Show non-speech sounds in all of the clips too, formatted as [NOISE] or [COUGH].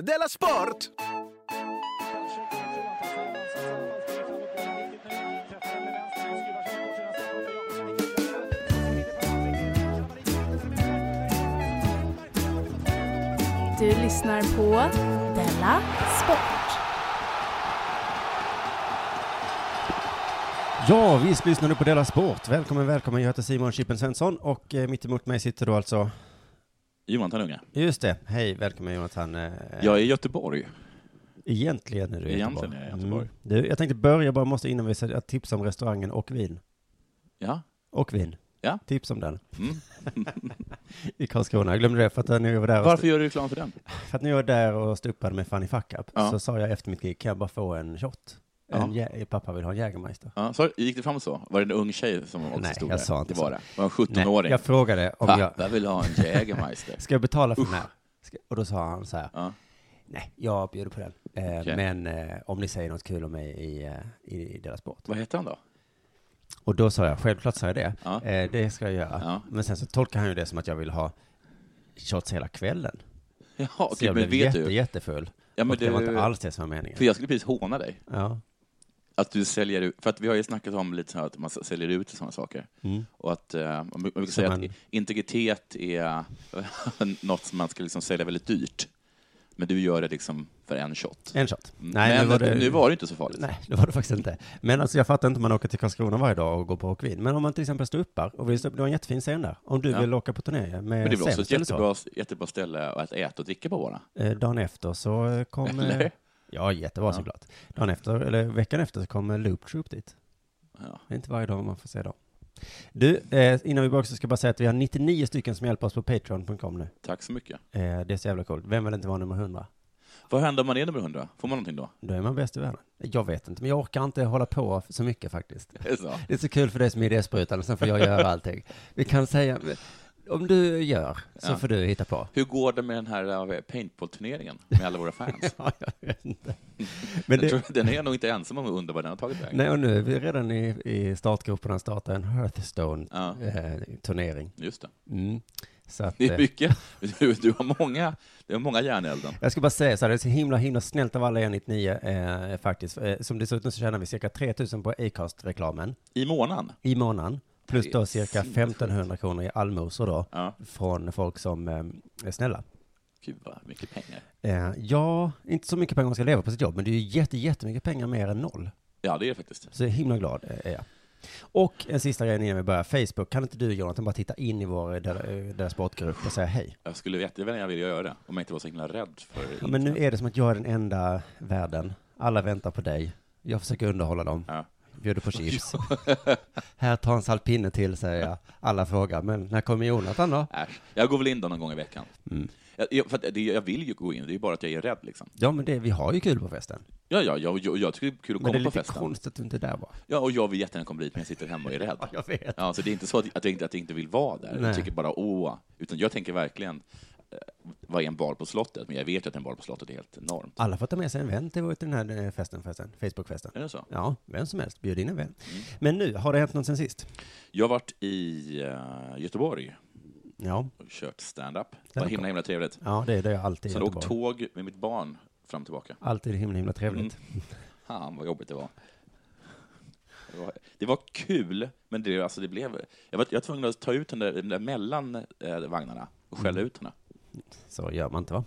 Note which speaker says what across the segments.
Speaker 1: Della Sport!
Speaker 2: Du lyssnar på Della Sport.
Speaker 3: Ja, visst lyssnar du på Della Sport. Välkommen, välkommen. Jag heter Simon Chippen Svensson och eh, mitt emot mig sitter då alltså...
Speaker 4: Johan Tanunga.
Speaker 3: Just det. Hej, välkommen Jonathan. Eh,
Speaker 4: Jag är i Göteborg.
Speaker 3: Egentligen är du i
Speaker 4: Egentligen
Speaker 3: Göteborg.
Speaker 4: är jag i Göteborg.
Speaker 3: Mm. Du, jag tänkte börja bara, måste innan vi säger att tipsa om restaurangen och vin.
Speaker 4: Ja.
Speaker 3: Och vin.
Speaker 4: Ja.
Speaker 3: Tips om den.
Speaker 4: Mm.
Speaker 3: [LAUGHS] I Karlskrona. Jag glömde det för att eh, när jag var där och,
Speaker 4: Varför gör du reklam för den?
Speaker 3: för att när jag var där och stupade med Fanny Fuck Up
Speaker 4: Ja.
Speaker 3: så sa jag efter mitt gig, kan jag bara få en shot?
Speaker 4: Ja.
Speaker 3: En jä- eh, pappa vill ha en Jägermeister.
Speaker 4: Ja, så gick det fram så? Var det en ung tjej som också
Speaker 3: Nej,
Speaker 4: stod
Speaker 3: jag
Speaker 4: där?
Speaker 3: sa inte
Speaker 4: det var
Speaker 3: så.
Speaker 4: det. Var en 17-åring?
Speaker 3: jag frågade om jag...
Speaker 4: Pappa vill ha en
Speaker 3: [LAUGHS]
Speaker 4: Jägermeister.
Speaker 3: Ska jag betala för den här? Ska, och då sa han så här,
Speaker 4: Ja.
Speaker 3: nej, jag bjuder på den. Eh,
Speaker 4: Okej.
Speaker 3: Men eh, om ni säger något kul om mig i, eh, i, i deras sport.
Speaker 4: Vad heter han då?
Speaker 3: Och då sa jag, självklart sa jag det.
Speaker 4: Ja.
Speaker 3: Eh, det ska jag göra.
Speaker 4: Ja.
Speaker 3: Men sen så tolkar han ju det som att jag vill ha shots hela kvällen.
Speaker 4: Jaha,
Speaker 3: så
Speaker 4: okej,
Speaker 3: jag
Speaker 4: men
Speaker 3: blev
Speaker 4: vet
Speaker 3: jätte,
Speaker 4: du?
Speaker 3: jättefull.
Speaker 4: Ja, men
Speaker 3: och det var
Speaker 4: du-
Speaker 3: inte alls det som var meningen.
Speaker 4: För jag skulle precis håna dig.
Speaker 3: Ja.
Speaker 4: Att du säljer ut, för att vi har ju snackat om lite så här att man säljer ut och sådana saker.
Speaker 3: Mm.
Speaker 4: Och att eh, man brukar- man brukar
Speaker 3: Som
Speaker 4: säga
Speaker 3: en-
Speaker 4: att integritet är [LAUGHS] något som man ska liksom sälja väldigt dyrt. Men du gör det liksom för en shot.
Speaker 3: En shot.
Speaker 4: Mm.
Speaker 3: Nej,
Speaker 4: men
Speaker 3: nu var det...
Speaker 4: nu var det inte så farligt.
Speaker 3: Nej, det var det faktiskt inte. Men alltså jag fattar inte om man åker till Karlskrona varje dag och går på Rockvin. Men om man till exempel står uppar och vill stå upp, det var en jättefin scen där. Om du
Speaker 4: Ja.
Speaker 3: vill åka på turné med
Speaker 4: Men det är väl också ett
Speaker 3: Sämst eller så.
Speaker 4: jättebra, jättebra ställe att äta och dricka på bara?
Speaker 3: Eh, dagen efter så
Speaker 4: [LAUGHS]
Speaker 3: eh, kom... eh,
Speaker 4: Eller?
Speaker 3: Ja, jättebra
Speaker 4: Ja.
Speaker 3: såklart. Dagen efter, eller veckan efter så kom eh, Loop Troop dit.
Speaker 4: Ja.
Speaker 3: Det är inte varje dag man får se dem. Du, eh, innan vi börjar så ska jag bara säga att vi har 99 stycken som hjälper oss på Patreon.com nu.
Speaker 4: Tack så mycket.
Speaker 3: Eh, det är så jävla coolt. Vem vill inte vara nummer 100?
Speaker 4: Vad händer om man är nummer 100? Får man någonting då? [LAUGHS]
Speaker 3: Då är man bäst i världen. Jag vet inte, men jag orkar inte hålla på så mycket faktiskt.
Speaker 4: Är det så?
Speaker 3: Det är så kul för dig som är idésprutan, och sen får jag göra allting. Vi kan säga, om du gör, så
Speaker 4: Ja.
Speaker 3: får du hitta på.
Speaker 4: Hur går det med den här eh, paintball-turneringen med alla våra fans?
Speaker 3: [LAUGHS] Ja, jag vet inte. [LAUGHS] Men
Speaker 4: Men
Speaker 3: det,
Speaker 4: tror, den är nog inte ensam om att undra vad den har tagit vägen.
Speaker 3: nej, och nu är vi redan i, i startgroparna startar en eh,
Speaker 4: Ja.
Speaker 3: Hearthstone-turnering.
Speaker 4: Just det.
Speaker 3: Mm. Så att,
Speaker 4: Det
Speaker 3: eh,
Speaker 4: är mycket. Du, du har många, du har många järn i elden.
Speaker 3: jag ska bara säga så här, det är så himla, himla snällt av alla 199 eh, faktiskt. Eh, som dessutom så tjänar vi cirka 3000 på Acast-reklamen
Speaker 4: I månaden?
Speaker 3: i månaden. Plus
Speaker 4: Det är
Speaker 3: då cirka
Speaker 4: sinnessjukt.
Speaker 3: 1500 kronor i allmosor då,
Speaker 4: Ja.
Speaker 3: från folk som eh, är snälla.
Speaker 4: Gud vad mycket pengar.
Speaker 3: Eh, ja, inte så mycket pengar man ska leva på sitt jobb, men det är ju jätte, jättemycket pengar mer än noll.
Speaker 4: Ja, det är det faktiskt.
Speaker 3: Så jag är himla glad eh, är jag. Och en sista grej innan vi börjar, Facebook, kan inte du Jonathan bara titta in i vår eh, där- eh, deras sportgrupp och säga hej?
Speaker 4: Jag skulle jättegärna vilja göra det, om jag inte var så himla rädd för
Speaker 3: Ja, men nu är det som att jag är den enda världen, alla väntar på dig, jag försöker underhålla dem,
Speaker 4: Ja.
Speaker 3: bjuder på chips. [LAUGHS] Här tar en salt pinne till säger jag, alla frågar, men när kommer Jonathan då?
Speaker 4: Äsch. Jag går väl in då någon gång i veckan.
Speaker 3: Mm.
Speaker 4: Jag, jag, för att det, jag vill ju gå in, det är bara att jag är rädd liksom.
Speaker 3: Ja men det, vi har ju kul på festen.
Speaker 4: Ja, ja, jag, jag, jag tycker det är kul att
Speaker 3: Men det är
Speaker 4: komma på
Speaker 3: lite
Speaker 4: festen.
Speaker 3: konstigt att du inte är där bara.
Speaker 4: Ja, och jag vill jättegärna komma dit, men jag sitter hemma och är rädd.
Speaker 3: jag vet.
Speaker 4: Ja, så det är inte så att att jag inte, att jag inte vill vara där.
Speaker 3: Nej.
Speaker 4: Jag tycker bara åh. Utan jag tänker verkligen, eh, vad är en bar på slottet? Men jag vet ju att en bar på slottet är helt enormt.
Speaker 3: Alla får ta med sig en vän till till den här eh, festen förresten, Facebookfesten.
Speaker 4: Är det så?
Speaker 3: Ja, vem som helst, bjud in en vän.
Speaker 4: Mm.
Speaker 3: Men nu, har det hänt något sen sist?
Speaker 4: Jag har varit i eh, Göteborg
Speaker 3: Ja,
Speaker 4: och kört stand-up. Det var
Speaker 3: Stand-up.
Speaker 4: himla, himla trevligt.
Speaker 3: ja det är det jag alltid
Speaker 4: Sen åkte
Speaker 3: Göteborg.
Speaker 4: tåg med mitt barn fram och tillbaka.
Speaker 3: Alltid himla, himla trevligt.
Speaker 4: Mm. Fan vad jobbigt det var. Det var, det var kul, men det, alltså det blev... Jag var, jag var tvungen att ta ut henne där mellan eh, vagnarna och
Speaker 3: Mm.
Speaker 4: skälla ut henne.
Speaker 3: Så gör man inte va?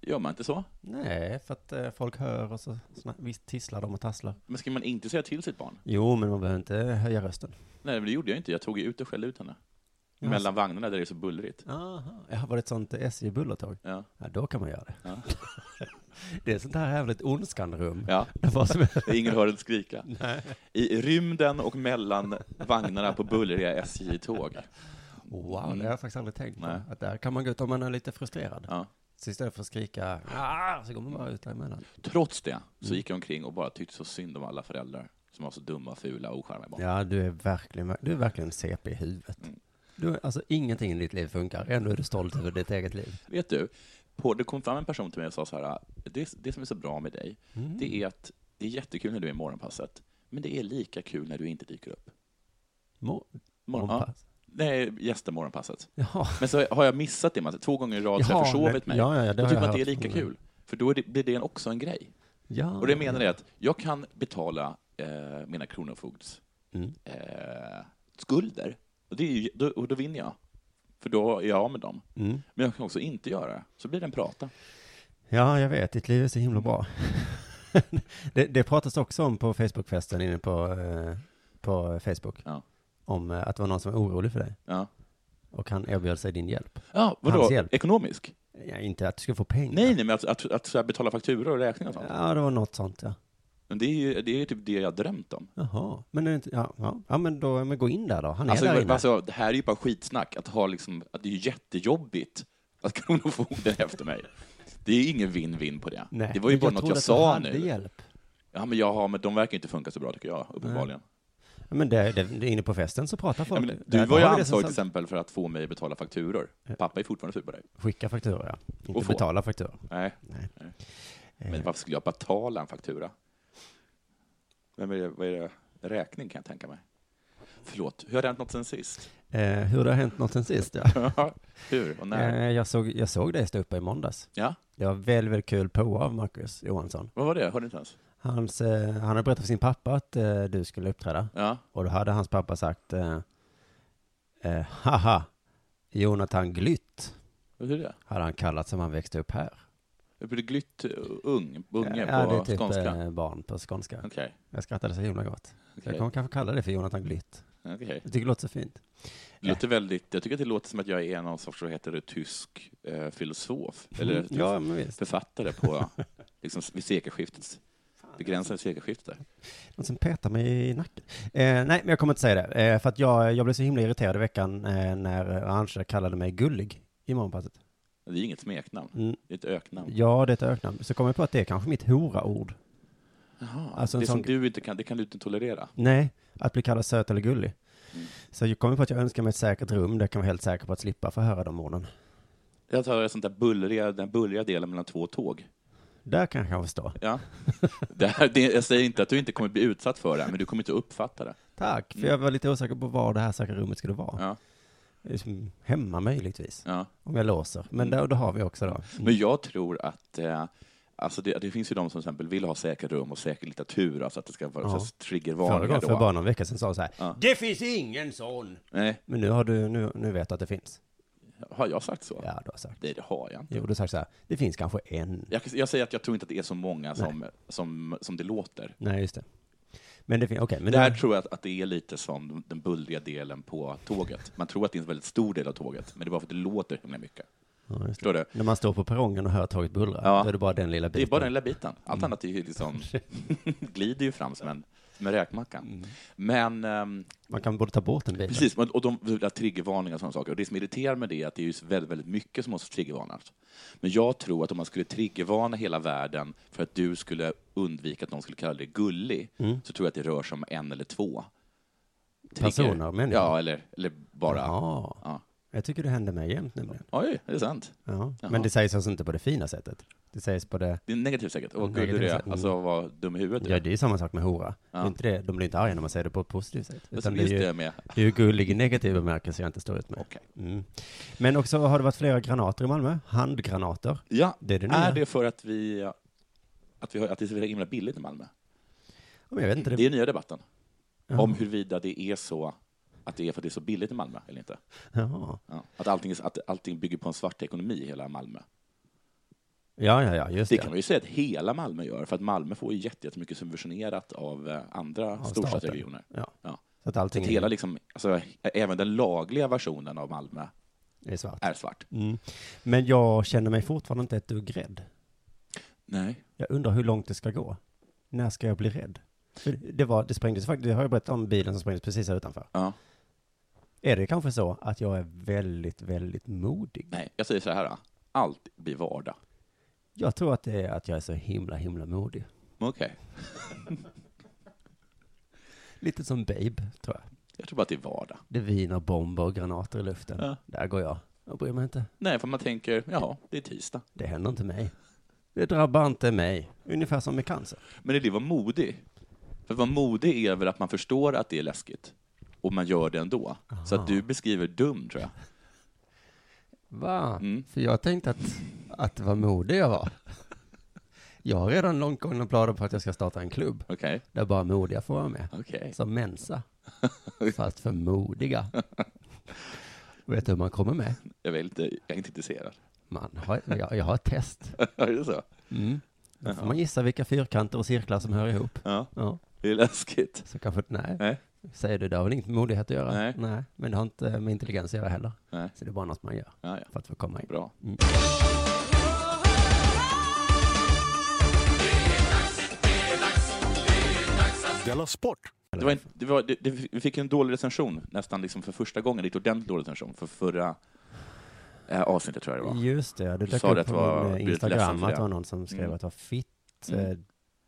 Speaker 4: Gör man inte så?
Speaker 3: Nej, för att eh, folk hör och så sna- visst tisslar de och tasslar.
Speaker 4: Men ska man inte säga till sitt barn?
Speaker 3: Jo, men man behöver inte höja rösten.
Speaker 4: Nej, men det gjorde jag inte. Jag tog ju ut och skällde ut henne.
Speaker 3: Jaså.
Speaker 4: Mellan vagnarna där det är så bullrigt.
Speaker 3: Aha. Ja, var det ett sånt eh, SJ-bullertåg?
Speaker 4: Ja.
Speaker 3: Ja, då kan man göra det.
Speaker 4: Ja.
Speaker 3: [LAUGHS] det är sånt här jävligt ondskan-rum.
Speaker 4: Ja.
Speaker 3: Där vad som helst-
Speaker 4: Ingen hör den skrika. I rymden och mellan vagnarna på bullriga SJ-tåg.
Speaker 3: [LAUGHS] Wow, det har jag faktiskt aldrig tänkt på.
Speaker 4: Nej.
Speaker 3: Att där kan man gå ut om man är lite frustrerad.
Speaker 4: Ja.
Speaker 3: Så istället för att skrika "Ah", så går man bara ut däremellan.
Speaker 4: Trots det så gick jag omkring och bara tyckte så synd om alla föräldrar som var så dumma, fula och ocharmiga barn.
Speaker 3: Ja, du är verkligen, du är verkligen CP i huvudet. Du, är- alltså ingenting i ditt liv funkar, ändå är du stolt över ditt eget liv.
Speaker 4: Vet du, på, det kom fram en person till mig och sa så här, det, det som är så bra med dig,
Speaker 3: Mm.
Speaker 4: det är att det är jättekul när du är i morgonpasset, men det är lika kul när du inte dyker upp.
Speaker 3: Må-
Speaker 4: Morgon-
Speaker 3: Morgonpass.
Speaker 4: Ja, nej, gäster morgonpasset.
Speaker 3: Jaha.
Speaker 4: Men så har jag missat det, Mats. två gånger i rad så har
Speaker 3: Jaha,
Speaker 4: jag försovit mig.
Speaker 3: nej. Ja, ja, ja,
Speaker 4: Då
Speaker 3: det har
Speaker 4: tycker
Speaker 3: jag
Speaker 4: man att det är
Speaker 3: hört.
Speaker 4: lika
Speaker 3: Mm.
Speaker 4: kul. För då är det, blir det också en grej.
Speaker 3: Ja.
Speaker 4: Och det jag menar är att jag kan betala eh, mina kronofogds
Speaker 3: Mm.
Speaker 4: eh, skulder. Och, det är ju, då, och då vinner jag. För då är jag av med dem.
Speaker 3: Mm.
Speaker 4: Men jag kan också inte göra det. Så blir det en prata.
Speaker 3: Ja, jag vet. Ditt liv är så himla bra. [LAUGHS] det, det pratas också om på Facebookfesten inne på, eh, på Facebook.
Speaker 4: Ja.
Speaker 3: Om eh, att det var någon som var orolig för dig.
Speaker 4: Ja,
Speaker 3: Och han erbjöd sig din hjälp.
Speaker 4: ja
Speaker 3: Hans
Speaker 4: vadå?
Speaker 3: hjälp.
Speaker 4: Ekonomisk?
Speaker 3: Ja, inte att du skulle få pengar.
Speaker 4: Nej, nej, men att, att, att så här betala fakturor och räkningar och sånt.
Speaker 3: Ja, det var något sånt, ja.
Speaker 4: Men det är ju det är ju typ det jag drömt om.
Speaker 3: Jaha. Men, är det inte- ja, ja. ja, men då, men gå in där då. Han är
Speaker 4: Alltså,
Speaker 3: där
Speaker 4: det,
Speaker 3: inne.
Speaker 4: alltså, det här är ju bara skitsnack. Att ha liksom, att det är ju jättejobbigt att [LAUGHS] Kronofogden är efter mig. Det är ingen vin-vin på det.
Speaker 3: Nej,
Speaker 4: det var ju
Speaker 3: men
Speaker 4: bara
Speaker 3: jag
Speaker 4: något
Speaker 3: trodde
Speaker 4: jag
Speaker 3: att
Speaker 4: sa
Speaker 3: du hade
Speaker 4: nu.
Speaker 3: hjälp.
Speaker 4: Ja, men, ja, men de verkar ju inte funka så bra, tycker jag, uppenbarligen.
Speaker 3: Ja, Men det, det, det, inne på festen så pratar
Speaker 4: Ja,
Speaker 3: folk.
Speaker 4: men,
Speaker 3: Där
Speaker 4: du var ju
Speaker 3: har vi det som
Speaker 4: ansvarig till
Speaker 3: sagt.
Speaker 4: exempel för att få mig att betala fakturor. Pappa är fortfarande sur på dig.
Speaker 3: Skicka fakturor, ja. Inte
Speaker 4: Och få.
Speaker 3: betala fakturor.
Speaker 4: Nej.
Speaker 3: Nej.
Speaker 4: Nej.
Speaker 3: Eh,
Speaker 4: Men varför skulle jag betala en faktura? Vem är det, vad är det? Räkning kan jag tänka mig. Förlåt, hur har det hänt något sen sist? [LAUGHS]
Speaker 3: Eh, hur det har hänt något sen sist, ja.
Speaker 4: hur och när?
Speaker 3: Eh, jag, såg, jag såg dig stå uppe i måndags.
Speaker 4: Ja,
Speaker 3: Det var väldigt, väldigt kul på av Marcus Johansson.
Speaker 4: vad var det? Hörde inte ens?
Speaker 3: Hans, eh, han hade berättat för sin pappa att eh, du skulle uppträda.
Speaker 4: Ja.
Speaker 3: Och då hade hans pappa sagt, eh, eh, haha, Jonathan Glytt
Speaker 4: Hur är det?
Speaker 3: hade han kallat som han växte upp här.
Speaker 4: Jag blir glytt eh, ung, unge
Speaker 3: ja,
Speaker 4: på
Speaker 3: det är typ
Speaker 4: skånska.
Speaker 3: eh, barn på skånska.
Speaker 4: Okej,
Speaker 3: Jag skrattade så himla gott. Så jag
Speaker 4: Okej.
Speaker 3: kommer kanske kalla det för Jonathan Glytt.
Speaker 4: okej.
Speaker 3: Jag tycker det låter så fint.
Speaker 4: Det låter väldigt, jag tycker att det låter som att jag är någon sorts, vad heter det, tysk eh, filosof, eller
Speaker 3: Mm, ja, men visst.
Speaker 4: författare
Speaker 3: [LAUGHS]
Speaker 4: på, liksom vid sekelskiftets, begränsade
Speaker 3: alltså.
Speaker 4: sekelskiftet.
Speaker 3: Någon som Alltså, petar mig i nacken. Eh, nej, men jag kommer inte säga det. Eh, för att jag, jag blev så himla irriterad i veckan eh, när Arantxa kallade mig gullig i morgonpasset.
Speaker 4: Det är inget smeknamn,
Speaker 3: Mm.
Speaker 4: det är ett öknamn.
Speaker 3: Ja, det är ett öknamn. Så kom jag på att det är kanske mitt hora-ord.
Speaker 4: Jaha,
Speaker 3: Alltså en
Speaker 4: det som
Speaker 3: sån-
Speaker 4: du inte kan, det kan du inte tolerera.
Speaker 3: Nej, att bli kallad söt eller gullig. Så jag kom på att jag önskar mig ett säkert rum där jag kan vara helt säker på att slippa få höra de orden.
Speaker 4: Jag tar det sånt där bullriga, den bullriga delen mellan två tåg.
Speaker 3: Där kan jag kanske stå. [LAUGHS]
Speaker 4: Ja. Det här, det, jag säger inte att du inte kommer bli utsatt för det, men du kommer inte uppfatta det.
Speaker 3: Tack, för jag var lite osäker på var det här säkra rummet skulle vara.
Speaker 4: Ja,
Speaker 3: Liksom Hemma möjligtvis,
Speaker 4: ja.
Speaker 3: om jag låser. Men där, då har vi också då.
Speaker 4: Men jag tror att eh, Alltså det, det finns ju de som till exempel vill ha säkra rum och säker litteratur, alltså att det ska vara
Speaker 3: Ja.
Speaker 4: ja.
Speaker 3: Förra
Speaker 4: triggervarningar.
Speaker 3: gången,
Speaker 4: då.
Speaker 3: för bara någon vecka sedan, sa hon så här.
Speaker 4: Ja.
Speaker 3: Det finns ingen sån!
Speaker 4: Nej,
Speaker 3: Men nu har du, nu, nu vet du att det finns.
Speaker 4: har jag sagt så?
Speaker 3: Ja, du har sagt.
Speaker 4: Nej, det har jag inte.
Speaker 3: Jo, du har sagt så här. Det finns kanske en.
Speaker 4: Jag, kan- jag säger att jag tror inte att det är så många som, som, som det låter.
Speaker 3: Nej, just det. Men det finns, okej. men
Speaker 4: Men Där tror jag att, att det är lite som den bullriga delen på tåget. Man tror att det är en väldigt stor del av tåget, men det är bara för att det låter himla mycket.
Speaker 3: Ja, just det.
Speaker 4: Förstår du?
Speaker 3: När man står på perrongen och hör tåget bullra,
Speaker 4: Ja.
Speaker 3: då är det bara den lilla
Speaker 4: Det är
Speaker 3: biten.
Speaker 4: bara den lilla biten.
Speaker 3: Mm.
Speaker 4: Allt annat är ju liksom, glider ju fram som en, som en räkmacka.
Speaker 3: Mm.
Speaker 4: Men ehm,
Speaker 3: Man kan borde ta bort den biten.
Speaker 4: precis, och de vill ha triggervarningar och sådana saker. Och det som irriterar med det är att det är ju så väldigt, väldigt mycket som måste triggervarnas. Men jag tror att om man skulle triggervarna hela världen för att du skulle undvika att någon skulle kalla dig gullig,
Speaker 3: Mm.
Speaker 4: så tror jag att det rör sig om en eller två. Trigger-
Speaker 3: Personer, människor?
Speaker 4: Ja, eller, eller bara...
Speaker 3: Ja.
Speaker 4: Ja.
Speaker 3: Jag tycker det händer mig jämt nämligen.
Speaker 4: Oj, är det sant?
Speaker 3: Ja. Men
Speaker 4: Jaha.
Speaker 3: det sägs alltså inte på det fina sättet. Det sägs på det,
Speaker 4: Det är negativt säkert. Och vad
Speaker 3: Negativt
Speaker 4: gullig du
Speaker 3: säkert. Mm.
Speaker 4: är. Alltså, vad dum i huvudet du
Speaker 3: ja
Speaker 4: är.
Speaker 3: det är ju samma sak med hora. Det är inte det, de blir inte arga när man säger det på ett positivt sätt.
Speaker 4: Alltså, Just
Speaker 3: Utan det är ju,
Speaker 4: det med...
Speaker 3: det är ju gullig i negativ bemärkelse jag inte står ut med.
Speaker 4: Okej.
Speaker 3: Mm. Men också har det varit flera granater i Malmö, handgranater.
Speaker 4: Ja,
Speaker 3: Det är det nya.
Speaker 4: är det för att vi... Att, vi har, att det är så himla billigt i Malmö?
Speaker 3: Ja, Men jag vet inte, det,
Speaker 4: Det är nya debatten.
Speaker 3: Ja.
Speaker 4: Om huruvida det är så att det är för att det är så billigt i Malmö eller inte.
Speaker 3: Jaha.
Speaker 4: Ja. Att, allting, är- att allting bygger på en svart ekonomi i hela Malmö.
Speaker 3: Ja, ja, ja, just
Speaker 4: Det
Speaker 3: det.
Speaker 4: kan man ju säga att hela Malmö gör, för att Malmö får ju jätte- jättemycket subventionerat av eh, andra
Speaker 3: staten.
Speaker 4: storstadsregioner.
Speaker 3: Ja.
Speaker 4: Ja.
Speaker 3: Så att
Speaker 4: Så
Speaker 3: allting
Speaker 4: att hela liksom, alltså, även den lagliga versionen av Malmö
Speaker 3: är svart.
Speaker 4: är svart.
Speaker 3: Mm. Men jag känner mig fortfarande inte ett dugg rädd.
Speaker 4: Nej.
Speaker 3: Jag undrar hur långt det ska gå. När ska jag bli rädd? För det, var, det sprängdes faktiskt, det har jag berättat om bilen som sprängdes precis här utanför.
Speaker 4: Ja.
Speaker 3: Är det kanske så att jag är väldigt, väldigt modig?
Speaker 4: Nej, jag säger så här. Allt blir vardag.
Speaker 3: Jag tror att det är att jag är så himla, himla modig.
Speaker 4: Men Okej.
Speaker 3: Lite som Babe, tror jag.
Speaker 4: Jag tror bara att det är vardag.
Speaker 3: Det viner bomber och granater i luften.
Speaker 4: Ja.
Speaker 3: Där går jag. Jag bryr mig inte.
Speaker 4: Nej, för man tänker, ja, det är tisdag.
Speaker 3: Det händer inte mig. Det drabbar inte mig. Ungefär som med cancer.
Speaker 4: Men är det vad modig? För vad modig är väl att man förstår att det är läskigt och man gör det ändå. Så att du beskriver dum, tror jag.
Speaker 3: Va?
Speaker 4: Mm.
Speaker 3: För jag tänkte att, att vad modig jag var. Jag har redan långt gångna planer på att jag ska starta en klubb
Speaker 4: Okej.
Speaker 3: där bara modiga får vara med.
Speaker 4: Okej.
Speaker 3: Som Mensa. Fast för modiga. Vet du hur man kommer med?
Speaker 4: Jag, vill inte, jag är inte intresserad. [LAUGHS]
Speaker 3: Man har, jag, jag har ett test.
Speaker 4: är det så?
Speaker 3: Mm. Då får man gissa vilka fyrkanter och cirklar som hör ihop.
Speaker 4: Ja,
Speaker 3: Ja,
Speaker 4: det är läskigt.
Speaker 3: så kanske, nej.
Speaker 4: Nej.
Speaker 3: Säger du, det har väl inget med modighet att göra?
Speaker 4: Nej.
Speaker 3: Men det har inte med intelligens att göra heller.
Speaker 4: Nej.
Speaker 3: Så det är bara något man gör
Speaker 4: Ja, ja.
Speaker 3: för att få komma in.
Speaker 4: Bra.
Speaker 1: Della Sport!
Speaker 4: Det var, en- det var, det, det, vi fick en dålig recension, nästan liksom för första gången, riktigt ordentligt dålig recension, för förra eh, avsnittet tror jag det var.
Speaker 3: Just det, det dök
Speaker 4: sa det
Speaker 3: upp
Speaker 4: att
Speaker 3: på
Speaker 4: var-
Speaker 3: min
Speaker 4: blivit
Speaker 3: eh,
Speaker 4: ledsen
Speaker 3: Instagram
Speaker 4: för
Speaker 3: att
Speaker 4: det.
Speaker 3: det var någon som skrev
Speaker 4: Mm.
Speaker 3: att det var fitt.
Speaker 4: Mm.
Speaker 3: eh,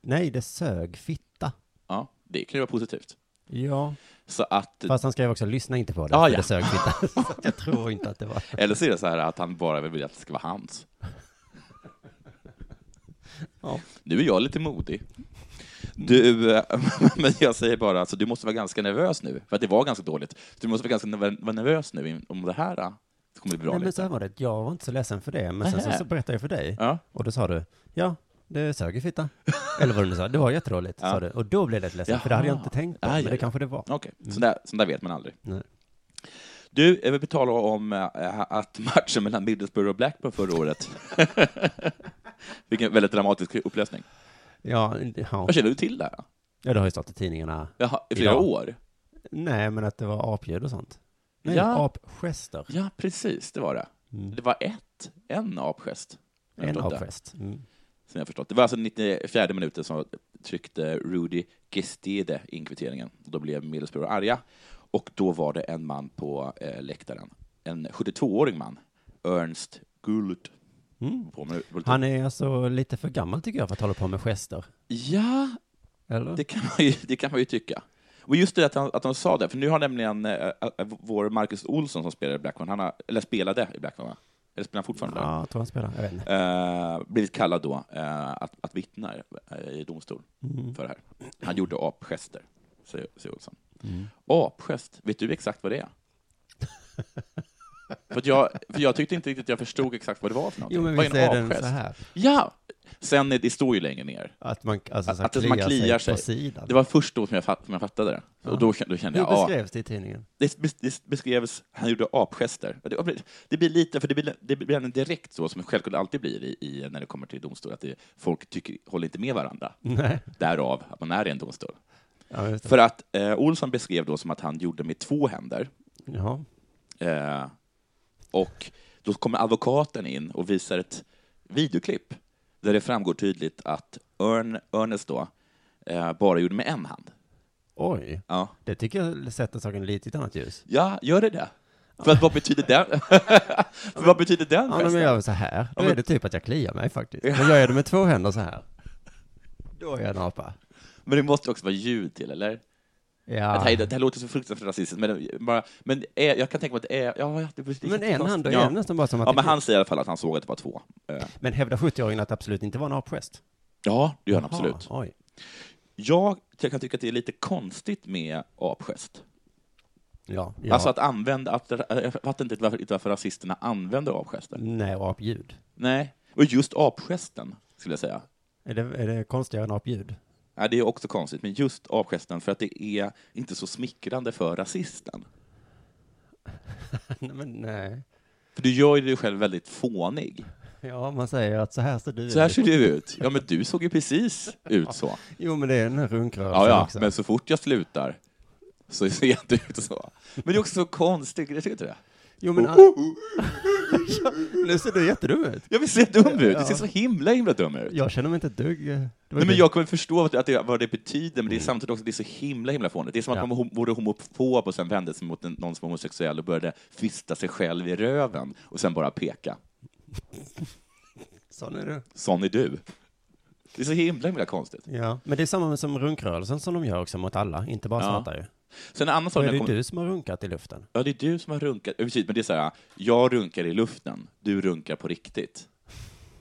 Speaker 3: Nej, det sög fitta.
Speaker 4: Ja, det kan ju vara positivt.
Speaker 3: Ja.
Speaker 4: Så att,
Speaker 3: Fast han skrev också, lyssna inte på det,
Speaker 4: Ah,
Speaker 3: för
Speaker 4: ja.
Speaker 3: det sög
Speaker 4: [LAUGHS]
Speaker 3: fitta. Så jag tror inte att det var.
Speaker 4: eller så är det så här att han bara vill att det ska vara hans.
Speaker 3: [LAUGHS] Ja.
Speaker 4: Nu är jag lite modig. Du, eh, [LAUGHS] men jag säger bara, alltså, du måste vara ganska nervös nu, för att det var ganska dåligt. Du måste vara ganska nerv- vara nervös nu in- om det här eh, kommer bli bra.
Speaker 3: Nej, men
Speaker 4: lite.
Speaker 3: så här var det, jag var inte så ledsen för det, men sen så,
Speaker 4: Nähä.
Speaker 3: så berättade jag för dig.
Speaker 4: Ja,
Speaker 3: Och då sa du, ja, det sög i fitta. Eller vad du nu sa, det var jätteroligt,
Speaker 4: [LAUGHS] Ja. Ah,
Speaker 3: sa du. Och då blev jag lite ledsen, för det hade jag inte
Speaker 4: Jaha.
Speaker 3: tänkt på,
Speaker 4: Aj,
Speaker 3: men
Speaker 4: aj,
Speaker 3: det
Speaker 4: aj.
Speaker 3: kanske det var.
Speaker 4: okej. Sånt där, sånt där vet man aldrig.
Speaker 3: Mm. Nej.
Speaker 4: Du, jag vill betala om eh, att matchen mellan Middlesbrough och Blackburn förra
Speaker 3: [LAUGHS]
Speaker 4: året Vilken väldigt dramatisk upplösning.
Speaker 3: Ja, ja.
Speaker 4: Vad känner du till där?
Speaker 3: ja, det har ju stått i tidningarna.
Speaker 4: Jaha, i flera
Speaker 3: Idag.
Speaker 4: år?
Speaker 3: Nej, men att det var apljud och sånt. Nej,
Speaker 4: Ja.
Speaker 3: apgester.
Speaker 4: Ja, precis, det var det.
Speaker 3: Mm.
Speaker 4: Det var ett, en apgest. har jag
Speaker 3: En
Speaker 4: förstått det,
Speaker 3: apgest. Mm.
Speaker 4: Som jag har förstått. Det var alltså 94 minuten som tryckte Rudy Gestede in kvitteringen. Då blev Middlesbrough arga. Och då var det en man på eh, läktaren, en 72-årig man, Ernst Gullit.
Speaker 3: Mm.
Speaker 4: På med-
Speaker 3: Han är alltså lite för gammal tycker jag för att hålla på med gester.
Speaker 4: Ja,
Speaker 3: Eller?
Speaker 4: Det kan man ju, det kan man ju tycka. Och just det att han, att han sa det, för nu har nämligen eh, eh, vår Marcus Olsson som spelade i Blackburn, han har, eller spelade i Blackburn, va? Eller spelar han fortfarande där?
Speaker 3: Ja, jag tror han spelar. Jag vet inte.
Speaker 4: Eh, blivit kallad då eh, att, att vittna eh, i domstol
Speaker 3: Mm.
Speaker 4: för det här. Han gjorde apgester, säger, säger Olsson.
Speaker 3: Mm.
Speaker 4: Apgest, vet du exakt vad det är? [LAUGHS] för, att jag, för jag tyckte inte riktigt att jag förstod exakt vad det var för någonting.
Speaker 3: Jo, men
Speaker 4: vad
Speaker 3: visst är
Speaker 4: är
Speaker 3: den
Speaker 4: en
Speaker 3: så
Speaker 4: apgest?
Speaker 3: här?
Speaker 4: Ja! Sen, är- det står ju längre ner.
Speaker 3: Att man, alltså, så här
Speaker 4: Att det- man kliar sig.
Speaker 3: på sidan.
Speaker 4: Det var först då som jag, fatt, som jag fattade det. Och då, då kände
Speaker 3: Hur
Speaker 4: jag, ah, ja,
Speaker 3: beskrevs det i tidningen? [LAUGHS]
Speaker 4: det, bes- det beskrevs, han gjorde apgester. Och Det, det blir lite, för det blir, det blir ändå direkt så som det självklart alltid blir i, i, när det kommer till domstol, att det, folk tycker, håller inte med varandra.
Speaker 3: Nej.
Speaker 4: Därav att man är i en domstol.
Speaker 3: Mm. Ja, just det.
Speaker 4: För att eh, Olsson beskrev då som att han gjorde med två händer,
Speaker 3: Jaha.
Speaker 4: eh, och då kommer advokaten in och visar ett videoklipp där det framgår tydligt att Örn, Ernest då, eh, bara gjorde med en hand.
Speaker 3: Oj.
Speaker 4: Ja.
Speaker 3: Det tycker jag sätter saken lite i ett annat ljus.
Speaker 4: Ja, gör det det? För att vad betyder den? [LAUGHS] för vad betyder den
Speaker 3: Ja, men
Speaker 4: festen?
Speaker 3: jag gör så här. Då
Speaker 4: men-
Speaker 3: är det typ att jag kliar
Speaker 4: [LAUGHS]
Speaker 3: mig faktiskt. Men gör jag det med två händer så här, då är jag en apa.
Speaker 4: Men det måste också vara ljud till, eller? Att
Speaker 3: Ja.
Speaker 4: hej, det här låter så fruktansvärt rasistiskt, men, det- bara, men är, jag kan tänka mig att det är... Ja, ja, det blir
Speaker 3: Men en hand, då är
Speaker 4: ja.
Speaker 3: det nästan bara som att...
Speaker 4: Ja, men han säger i alla fall att han såg att det var två. Eh,
Speaker 3: men hävdar 70-åringen att det absolut inte var en apgest?
Speaker 4: Ja, det gör han
Speaker 3: Jaha,
Speaker 4: absolut.
Speaker 3: Oj.
Speaker 4: Jag, jag kan tycka att det är lite konstigt med apgest.
Speaker 3: Ja. ja.
Speaker 4: Alltså att använda... Att, jag fattar inte varför, inte varför rasisterna använder apgester.
Speaker 3: Nej, och apljud.
Speaker 4: Nej. Och just apgesten, skulle jag säga.
Speaker 3: Är det, är det konstigare än apljud? [LAUGHS]
Speaker 4: Ja, det är också konstigt, men just avgesten för att det är inte så smickrande för rasisten.
Speaker 3: nej, men nej.
Speaker 4: För du gör ju dig själv väldigt fånig.
Speaker 3: Ja, man säger att så här ser du
Speaker 4: Så här
Speaker 3: ut.
Speaker 4: ser du ut. Ja, men du såg ju precis ut så.
Speaker 3: Jo, men det är den här runkrörelsen
Speaker 4: Ja, ja,
Speaker 3: också.
Speaker 4: men så fort jag slutar så ser jag inte ut så. Men det är också så konstigt, jag tycker inte det?
Speaker 3: Jo,
Speaker 4: Oh,
Speaker 3: men... ja, [LAUGHS] nu ser du jättedum ut.
Speaker 4: Jag vill se dum ut,
Speaker 3: Ja.
Speaker 4: det ser så himla, himla dum ut.
Speaker 3: Jag känner mig inte ett dugg... eh, det var
Speaker 4: Nej, men
Speaker 3: det.
Speaker 4: jag kommer förstå att det, vad det betyder, men det är samtidigt också det är så himla, himla fånigt. Det är som att
Speaker 3: Ja.
Speaker 4: man hom- vore homofob och sen vände sig mot en, någon som var homosexuell och började fista sig själv i röven och sen bara peka.
Speaker 3: Sån är du.
Speaker 4: sån är du. Det är så himla, himla konstigt.
Speaker 3: Ja, men det är samma med som runkrörelsen som de gör också mot alla, inte bara
Speaker 4: Ja.
Speaker 3: svarta ju.
Speaker 4: Sen en annan
Speaker 3: Så
Speaker 4: sak,
Speaker 3: är
Speaker 4: när
Speaker 3: det
Speaker 4: jag kom...
Speaker 3: du som har runkat i luften.
Speaker 4: ja, det är du som har runkat, Ja, precis, men det är så här, jag runkar i luften, du runkar på riktigt.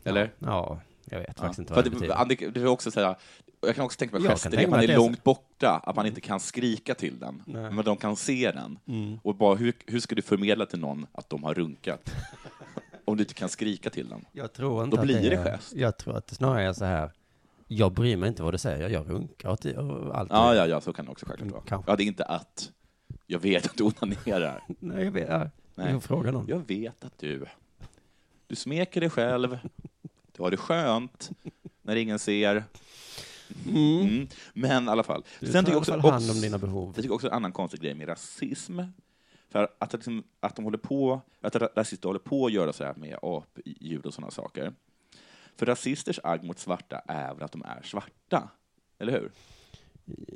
Speaker 4: Eller?
Speaker 3: Ja, jag vet faktiskt inte
Speaker 4: För
Speaker 3: vad
Speaker 4: att
Speaker 3: det betyder.
Speaker 4: Annika, det är också så här, jag kan också tänka mig
Speaker 3: Jag kan
Speaker 4: gester,
Speaker 3: tänka
Speaker 4: att man
Speaker 3: mig
Speaker 4: är
Speaker 3: att det är så.
Speaker 4: långt borta, att man inte kan skrika till den, men de kan se den.
Speaker 3: Mm.
Speaker 4: Och bara, hur, hur ska du förmedla till någon att de har runkat? [LAUGHS] Om du inte kan skrika till den.
Speaker 3: Jag tror inte
Speaker 4: Då blir
Speaker 3: att det
Speaker 4: det
Speaker 3: är,
Speaker 4: gest.
Speaker 3: Jag tror att det snarare är så här. Jag bryr mig inte vad du säger, jag runkar åt och allt.
Speaker 4: Ja, ja, ja, så kan det också självklart vara.
Speaker 3: Kanske.
Speaker 4: Ja, det är inte att jag vet att du onanerar.
Speaker 3: Nej, jag vet. Ja.
Speaker 4: Nej.
Speaker 3: Nej. får fråga någon.
Speaker 4: Jag vet att du, du smeker dig själv, du har det skönt när ingen ser. Mm. Men i alla fall.
Speaker 3: Du tar
Speaker 4: tycker jag
Speaker 3: i alla
Speaker 4: också-
Speaker 3: fall hand om dina behov.
Speaker 4: Jag tycker också en annan konstig grej med rasism. För att, liksom, att de håller på, att ra- rasister håller på att göra så här med apljud och sådana saker. För rasisters agg mot svarta är väl att de är svarta? Eller hur?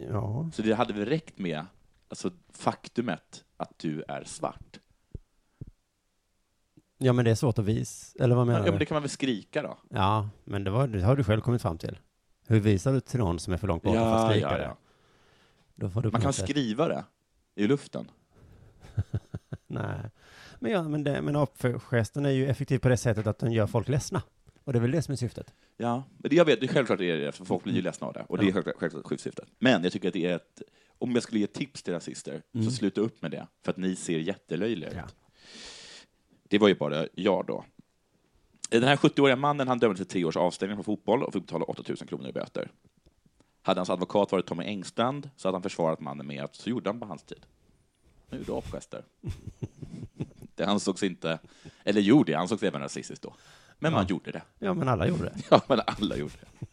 Speaker 3: Ja.
Speaker 4: Så det hade väl räckt med alltså, faktumet att du är svart?
Speaker 3: ja, men det är svårt att visa. Eller vad menar
Speaker 4: Ja, men
Speaker 3: du?
Speaker 4: det kan man väl skrika då?
Speaker 3: Ja, men det, var, det har du själv kommit fram till. Hur visar du till någon som är för långt bort för att skrika det? Då får du på
Speaker 4: Man kan
Speaker 3: något sätt-
Speaker 4: skriva det i luften.
Speaker 3: Nej. Men, ja, men, det, men apgesten är ju effektiv på det sättet att den gör folk ledsna. Och det är väl det som är syftet.
Speaker 4: Ja, men det- jag vet, det är självklart det är det, för folk blir
Speaker 3: Mm.
Speaker 4: ju ledsna av det. Och det är självklart, självklart skyddssyftet. Men jag tycker att det är ett... Om jag skulle ge tips till rasister, så sluta upp med det, för att ni ser jättelöjliga ut.
Speaker 3: Mm. Ja.
Speaker 4: Det var ju bara jag då. Den här 70-åriga mannen han dömdes till tre års avstängning från fotboll och fick betala 8 000 kronor i böter. Hade hans advokat varit Tommy Engstrand så hade han försvarat mannen med att så gjorde han på hans tid. Han gjorde
Speaker 3: [LAUGHS]
Speaker 4: apgester. Det ansågs inte, eller jo, det ansågs även rasistiskt då. Men man gjorde det.
Speaker 3: Ja, men alla gjorde det.
Speaker 4: [LAUGHS] Ja, men alla gjorde det.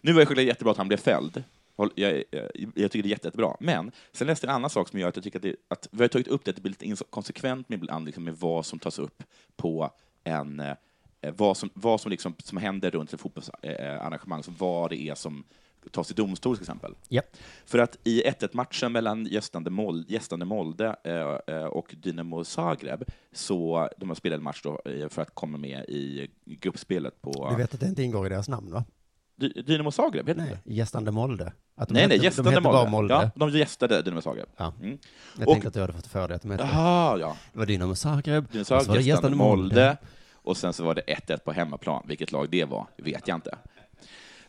Speaker 4: Nu var det självklart jättebra att han blev fälld. Håll- Jag, jag, jag tycker det är jätte, jättebra. Men sen läste jag en annan sak som gör att jag tycker att, det, att vi har tagit upp det, att det blir lite inkonsekvent med ibland liksom med vad som tas upp på en eh, vad som, vad som, liksom, som händer runt ett fotbollsarrangemang, så vad det är som tas i domstol till exempel.
Speaker 3: Ja.
Speaker 4: För att i 1-1-matchen mellan gästande, Mol, gästande Molde eh, eh, och Dynamo Zagreb, så de har spelat en match då, eh, för att komma med i gruppspelet på...
Speaker 3: Du vet att det inte ingår i deras namn, va?
Speaker 4: Dy- Dynamo Zagreb, heter
Speaker 3: Nej,
Speaker 4: det?
Speaker 3: gästande Molde. Att de
Speaker 4: Nej,
Speaker 3: hette-
Speaker 4: nej, gästade
Speaker 3: de hette bara
Speaker 4: Molde.
Speaker 3: Molde.
Speaker 4: Ja, de gästade Dynamo Zagreb.
Speaker 3: Ja.
Speaker 4: Mm.
Speaker 3: Jag
Speaker 4: Och-
Speaker 3: tänkte att du hade fått för dig att de hette...
Speaker 4: Jaha, ja.
Speaker 3: Det var Dynamo Zagreb,
Speaker 4: Dynamo
Speaker 3: och så var
Speaker 4: Zagreb,
Speaker 3: det
Speaker 4: gästande Molde. Och sen så var det 1-1 på hemmaplan. Vilket lag det var vet jag inte.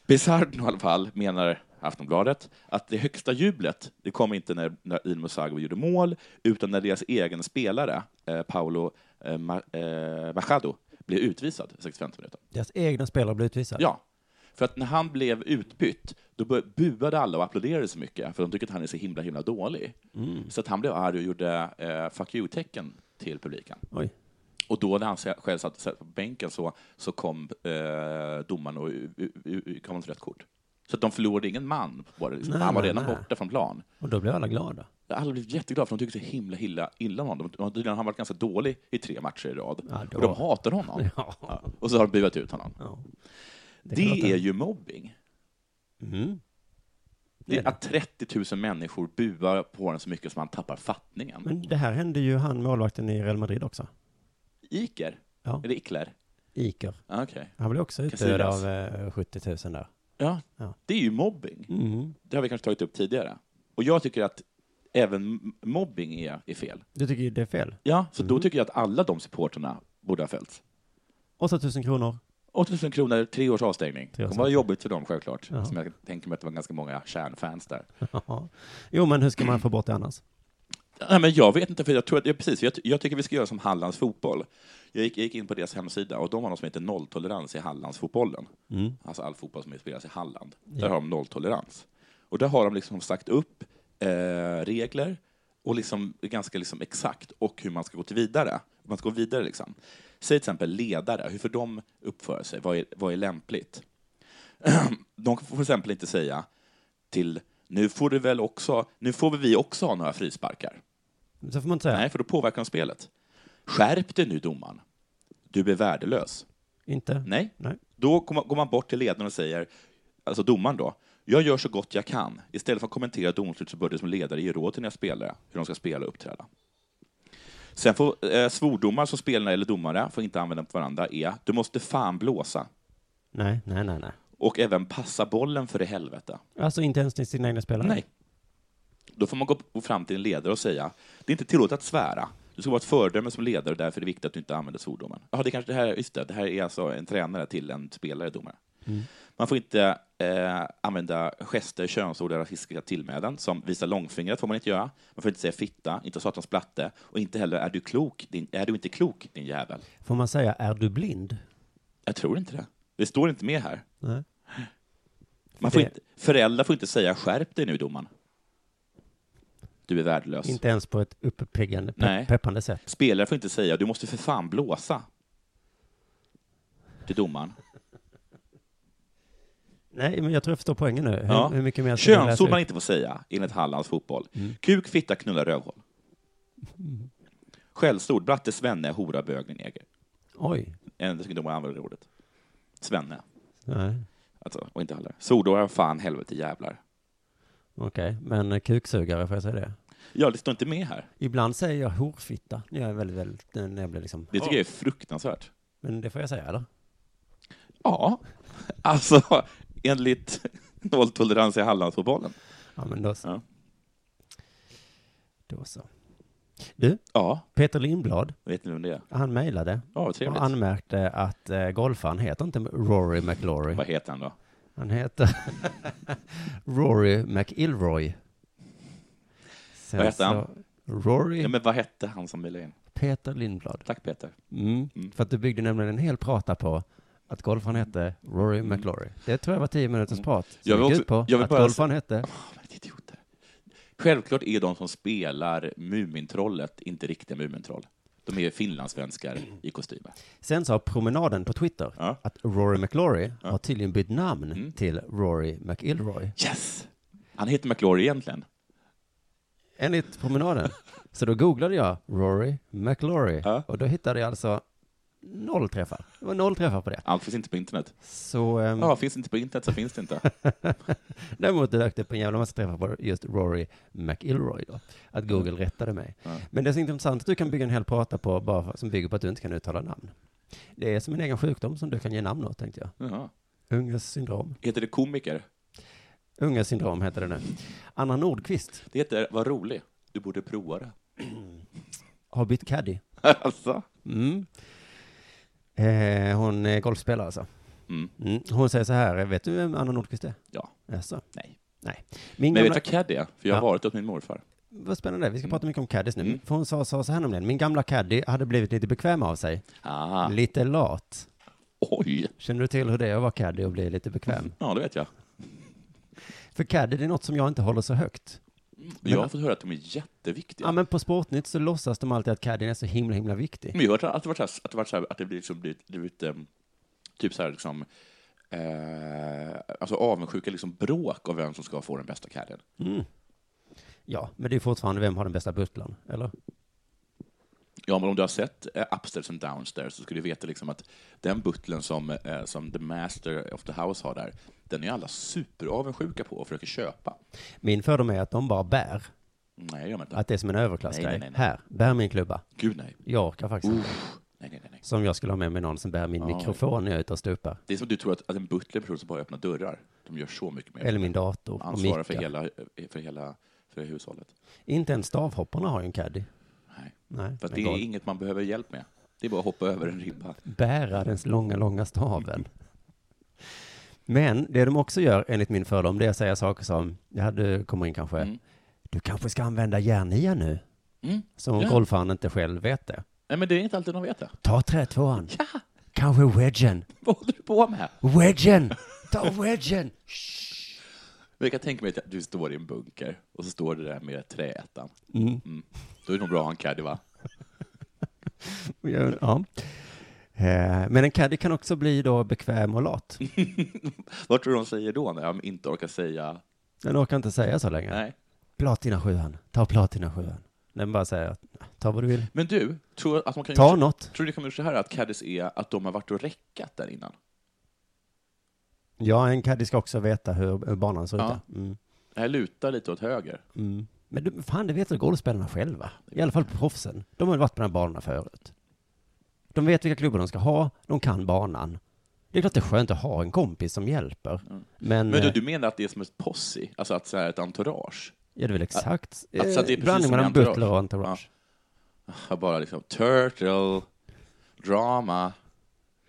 Speaker 4: Bizarno i alla fall menar Aftonbladet att det högsta jublet, det kom inte när, när Dynamo Zagreb gjorde mål, utan när deras egen spelare, eh, Paolo eh, Ma- eh, Machado, blev utvisad i 65 minuter.
Speaker 3: Deras egna spelare blev utvisade.
Speaker 4: Ja. För att när han blev utbytt, då bör- buade alla och applåderade så mycket, för de tycker att han är så himla, himla dålig.
Speaker 3: Mm.
Speaker 4: Så att han blev arg och gjorde eh, fuck you-tecken till publiken.
Speaker 3: Oj.
Speaker 4: Och då när han se- själv satt, satt på bänken så, så kom eh, domaren och u- u- u- gav honom ett rött kort. Så att de förlorade ingen man på det. Liksom.
Speaker 3: Nej,
Speaker 4: han var
Speaker 3: nej,
Speaker 4: redan
Speaker 3: nej.
Speaker 4: borta från plan.
Speaker 3: Och då blev alla glada.
Speaker 4: Alla blev jätteglada för de tyckte så himla, himla illa om honom. De har tydligen- Han har varit ganska dålig i tre matcher i rad.
Speaker 3: Ja, då-
Speaker 4: Och de hatar honom.
Speaker 3: Ja.
Speaker 4: Och så har de buat ut honom.
Speaker 3: Ja.
Speaker 4: Det,
Speaker 3: kan låta-
Speaker 4: är ju mobbing.
Speaker 3: Mm.
Speaker 4: Det är att 30 000 människor buar på honom så mycket som han tappar fattningen.
Speaker 3: Men det här hände ju han målvakten i Real Madrid också.
Speaker 4: Iker?
Speaker 3: Ja.
Speaker 4: Är det Ickler?
Speaker 3: Iker.
Speaker 4: Ah, Okej.
Speaker 3: Han blev också utdöd
Speaker 4: Casillas.
Speaker 3: av eh, 70 000 där. Mm.
Speaker 4: Ja,
Speaker 3: Ja.
Speaker 4: det är ju mobbing. Det har vi kanske tagit upp tidigare. Och jag tycker att även m- mobbing är, är fel.
Speaker 3: Du tycker ju det är fel.
Speaker 4: Ja, Mm. så då tycker jag att alla de supporterna borde ha fällts.
Speaker 3: 8 000 kronor. [LAUGHS]
Speaker 4: 8000 kronor, tre års avstängning. Det
Speaker 3: års
Speaker 4: kommer vara jobbigt för dem självklart.
Speaker 3: Ja.
Speaker 4: Som jag tänker mig att det var ganska många kärnfans där.
Speaker 3: Ja. Jo, men hur ska man få bort det annars?
Speaker 4: Nej, men jag vet inte, för jag tror att, ja, precis, jag, jag tycker vi ska göra som Hallands fotboll. Jag gick, jag gick in på deras hemsida och de har något som heter nolltolerans i Hallandsfotbollen. Alltså all fotboll som spelas i Halland. Där har de nolltolerans. Och där har de liksom sagt upp eh, regler och liksom ganska liksom exakt och hur man ska gå till vidare. Man ska gå vidare liksom. Säg till exempel ledare, hur får de uppföra sig? Vad är, vad är lämpligt? [CLEARS THROAT] De får till exempel inte säga till nu får, du väl också, nu får väl vi också ha några frisparkar.
Speaker 3: Så får man inte säga.
Speaker 4: Nej, för då påverkar de spelet. Skärp dig nu domaren. Du är värdelös.
Speaker 3: Inte?
Speaker 4: Nej.
Speaker 3: Nej.
Speaker 4: Då går man- går man bort till ledaren och säger, alltså domaren då, jag gör så gott jag kan. Istället för att kommentera domslut så bör du som ledare ge råd till dina spelare hur de ska spela och uppträda. Sen får eh, svordomar som spelare eller domare får inte använda på varandra är, du måste fan blåsa.
Speaker 3: Nej, nej, nej, nej.
Speaker 4: Och även passa bollen för i helvete.
Speaker 3: Alltså inte ens till sina egna spelare?
Speaker 4: Nej. Då får man gå fram till en ledare och säga, det är inte tillåtet att svära. Du ska vara ett föredöme som ledare och därför är det viktigt att du inte använder svordomen. Jaha, det kanske det här, just det, det här är alltså en tränare till en spelare, domare.
Speaker 3: Mm.
Speaker 4: Man får inte eh, använda gester, könsord eller rasistiska tillmälen, som visa långfingret får man inte göra. Man får inte säga fitta, inte satans platte och inte heller är du klok, din, är du inte klok din jävel.
Speaker 3: Får man säga, är du blind?
Speaker 4: Jag tror inte det. Det står inte med här.
Speaker 3: Nej.
Speaker 4: Man får
Speaker 3: Det-
Speaker 4: inte, föräldrar får inte säga skärp dig nu domaren. Du är värdelös.
Speaker 3: Inte ens på ett uppeggande, pe-
Speaker 4: Nej.
Speaker 3: peppande sätt.
Speaker 4: Spelare får inte säga du måste för fan blåsa. Till domaren.
Speaker 3: Nej, men jag tror jag förstår poängen nu. Hur,
Speaker 4: Ja.
Speaker 3: hur mycket mer ska vi läsa
Speaker 4: Könsord
Speaker 3: ut?
Speaker 4: man inte får säga, enligt Hallands fotboll. Kuk, fitta, knulla, rövhål. Skällsord, bratte, svenne, hora, bög, neger.
Speaker 3: Oj.
Speaker 4: Eh, Jag tycker domaren använder det ordet. Svenne,
Speaker 3: Nej.
Speaker 4: alltså, och inte heller. Svordomar, fan, helvete, jävlar.
Speaker 3: Okej, men eh, kuksugare, får jag säga det?
Speaker 4: Ja, det står inte med här.
Speaker 3: Ibland säger jag horfitta när jag är väldigt, väldigt, när jag blir liksom,
Speaker 4: Det tycker jag är fruktansvärt.
Speaker 3: men det får jag säga eller?
Speaker 4: Ja, [LAUGHS] alltså enligt nolltolerans i Hallandsfotbollen.
Speaker 3: Ja, men då så.
Speaker 4: Ja.
Speaker 3: Då så. Du,
Speaker 4: Ja,
Speaker 3: Peter Lindblad,
Speaker 4: vet ni vem det är?
Speaker 3: han mejlade
Speaker 4: Ja, vad
Speaker 3: och
Speaker 4: trevligt.
Speaker 3: anmärkte att eh, golfaren heter inte Rory McLaury.
Speaker 4: Vad heter han då?
Speaker 3: Han heter [LAUGHS] Rory McIlroy. Sen
Speaker 4: Vad heter han?
Speaker 3: så- Rory
Speaker 4: Ja, men vad hette han som ville in?
Speaker 3: Peter Lindblad.
Speaker 4: Tack Peter.
Speaker 3: Mm.
Speaker 4: Mm.
Speaker 3: För att du byggde nämligen en hel prata på att golfaren hette Rory McLaury. Det tror jag var tio minuters
Speaker 4: Mm.
Speaker 3: prat.
Speaker 4: Jag
Speaker 3: Jag
Speaker 4: vill
Speaker 3: gick
Speaker 4: också-
Speaker 3: ut på
Speaker 4: jag vill
Speaker 3: att
Speaker 4: bara
Speaker 3: golfaren hette...
Speaker 4: Oh, men idioter. Självklart är de som spelar Mumintrollet inte riktiga Mumintroll. De är finlandssvenskar i kostymer.
Speaker 3: Sen sa promenaden på Twitter
Speaker 4: Ja.
Speaker 3: att Rory McLaury
Speaker 4: Ja.
Speaker 3: har tydligen bytt namn
Speaker 4: Mm.
Speaker 3: till Rory McIlroy.
Speaker 4: Yes! Han heter McLaury egentligen.
Speaker 3: Enligt promenaden. Så då googlade jag Rory McLaury
Speaker 4: Ja.
Speaker 3: och då hittade jag alltså noll träffar. Det var noll träffar på det.
Speaker 4: Allt finns inte på internet.
Speaker 3: Så ehm,
Speaker 4: Ja, finns inte på internet så finns det inte.
Speaker 3: däremot dök det upp en jävla massa träffar på just Rory McIlroy då. Att Google rättade mig.
Speaker 4: Ja.
Speaker 3: Men det är så intressant att du kan bygga en hel prata på bara för, som bygger på att du inte kan uttala namn. Det är som en egen sjukdom som du kan ge namn åt tänkte jag.
Speaker 4: Jaha.
Speaker 3: Unges syndrom.
Speaker 4: Heter det komiker?
Speaker 3: Unges syndrom heter det nu. Anna Nordqvist
Speaker 4: Det heter Vad rolig. Du borde prova det.
Speaker 3: har bytt caddy.
Speaker 4: alltså?
Speaker 3: Mm. Eh, hon är golfspelare alltså.
Speaker 4: Mm.
Speaker 3: Mm. Hon säger så här, vet du vem Anna Nordqvist är?
Speaker 4: Ja.
Speaker 3: Jaså?
Speaker 4: Nej.
Speaker 3: Nej. Min
Speaker 4: Men jag
Speaker 3: gamla...
Speaker 4: vet vad caddy är, för jag har
Speaker 3: Ja.
Speaker 4: varit åt min morfar.
Speaker 3: Vad spännande, vi ska
Speaker 4: Mm.
Speaker 3: prata mycket om caddies nu.
Speaker 4: Mm.
Speaker 3: För hon sa, sa så här nämligen, min gamla caddy hade blivit lite bekväm av sig.
Speaker 4: Ah,
Speaker 3: Lite lat.
Speaker 4: oj!
Speaker 3: Känner du till hur det är att vara caddy och bli lite bekväm?
Speaker 4: Ja, det vet jag.
Speaker 3: För caddy, det är något som jag inte håller så högt. Men-
Speaker 4: Jag har fått höra att de är jätteviktiga.
Speaker 3: Ja, men på Sportnytt så låtsas de alltid att caddien är så himla, himla viktig.
Speaker 4: Men jag har hört att det varit så här, att det, varit så här, att det blir liksom, blivit, blivit ehm, typ så här liksom, eh, alltså avundsjuka liksom bråk av vem som ska få den bästa cadden.
Speaker 3: Mm. Ja, men det är fortfarande, vem har den bästa butlern? Eller?
Speaker 4: Ja, men om du har sett eh, Upstairs and Downstairs så ska du veta liksom att den butlern som, eh, som the master of the house har där, den är alla superavundsjuka på och försöker köpa.
Speaker 3: Min fördom är att de bara bär.
Speaker 4: Nej, jag inte.
Speaker 3: Att det är som en överklassgrej.
Speaker 4: Nej, nej, nej, nej.
Speaker 3: Här, bär min klubba.
Speaker 4: Gud nej.
Speaker 3: Jag orkar faktiskt inte.
Speaker 4: Nej, nej, nej, nej.
Speaker 3: Som jag skulle ha med mig någon som bär min
Speaker 4: Ja.
Speaker 3: mikrofon när jag är ute och stupar.
Speaker 4: Det är som att du tror att, att en butler är en person som bara öppnar dörrar. De gör så mycket mer.
Speaker 3: Eller min dator. Och
Speaker 4: ansvarar för
Speaker 3: mickar.
Speaker 4: hela, för hela för hushållet.
Speaker 3: Inte ens stavhopparna har ju en caddy.
Speaker 4: Nej.
Speaker 3: Nej,
Speaker 4: För att det
Speaker 3: men
Speaker 4: är
Speaker 3: golf.
Speaker 4: inget man behöver hjälp med. Det är bara att hoppa över en ribba.
Speaker 3: bära den långa, långa staven. Men det de också gör, enligt min fördom, det är att säga saker som, det här du kommer in kanske,
Speaker 4: Mm.
Speaker 3: du kanske ska använda järnia nu,
Speaker 4: Mm.
Speaker 3: som om
Speaker 4: Ja.
Speaker 3: golfaren inte själv vet det.
Speaker 4: Nej, men det är inte alltid de vet det. [LAUGHS]
Speaker 3: Ta trätvåan,
Speaker 4: Ja,
Speaker 3: kanske wedgen,
Speaker 4: vad håller du på med?
Speaker 3: wedgen, ta wedgen.
Speaker 4: Jag kan tänka mig att du står i en bunker och så står det där med träettan. Mm. Då är det nog bra att ha en caddy, va?
Speaker 3: Ja. Eh, Men en caddy kan också bli då bekväm och lat.
Speaker 4: Vad tror du de säger då när jag inte orkar säga
Speaker 3: Den orkar inte säga så länge.
Speaker 4: nej?
Speaker 3: Platina sjuan, ta platina sjuan. Den bara säger, ta vad du vill,
Speaker 4: Men du, tror att man kan
Speaker 3: ta
Speaker 4: göra,
Speaker 3: något.
Speaker 4: tror du det kan göra så här att caddies är att de har varit och räckat där innan?
Speaker 3: Ja, en caddy ska också veta hur hur banan ser ut.
Speaker 4: Ja.
Speaker 3: där. Mm.
Speaker 4: Jag lutar lite åt höger.
Speaker 3: Mm. Men du, fan, det vet väl golfspelarna själva? I alla fall proffsen. De har ju varit på de här banorna förut. De vet vilka klubbor de ska ha, de kan banan. Det är klart det är skönt att ha en kompis som hjälper. Men,
Speaker 4: Men du,
Speaker 3: eh,
Speaker 4: du menar att det är som ett posse, alltså att så här ett entourage?
Speaker 3: ja, det är väl exakt eh,
Speaker 4: att- att det är precis
Speaker 3: blandning
Speaker 4: som i
Speaker 3: mellan
Speaker 4: Entourage.
Speaker 3: butler och entourage.
Speaker 4: Jag bara liksom, turtle, drama,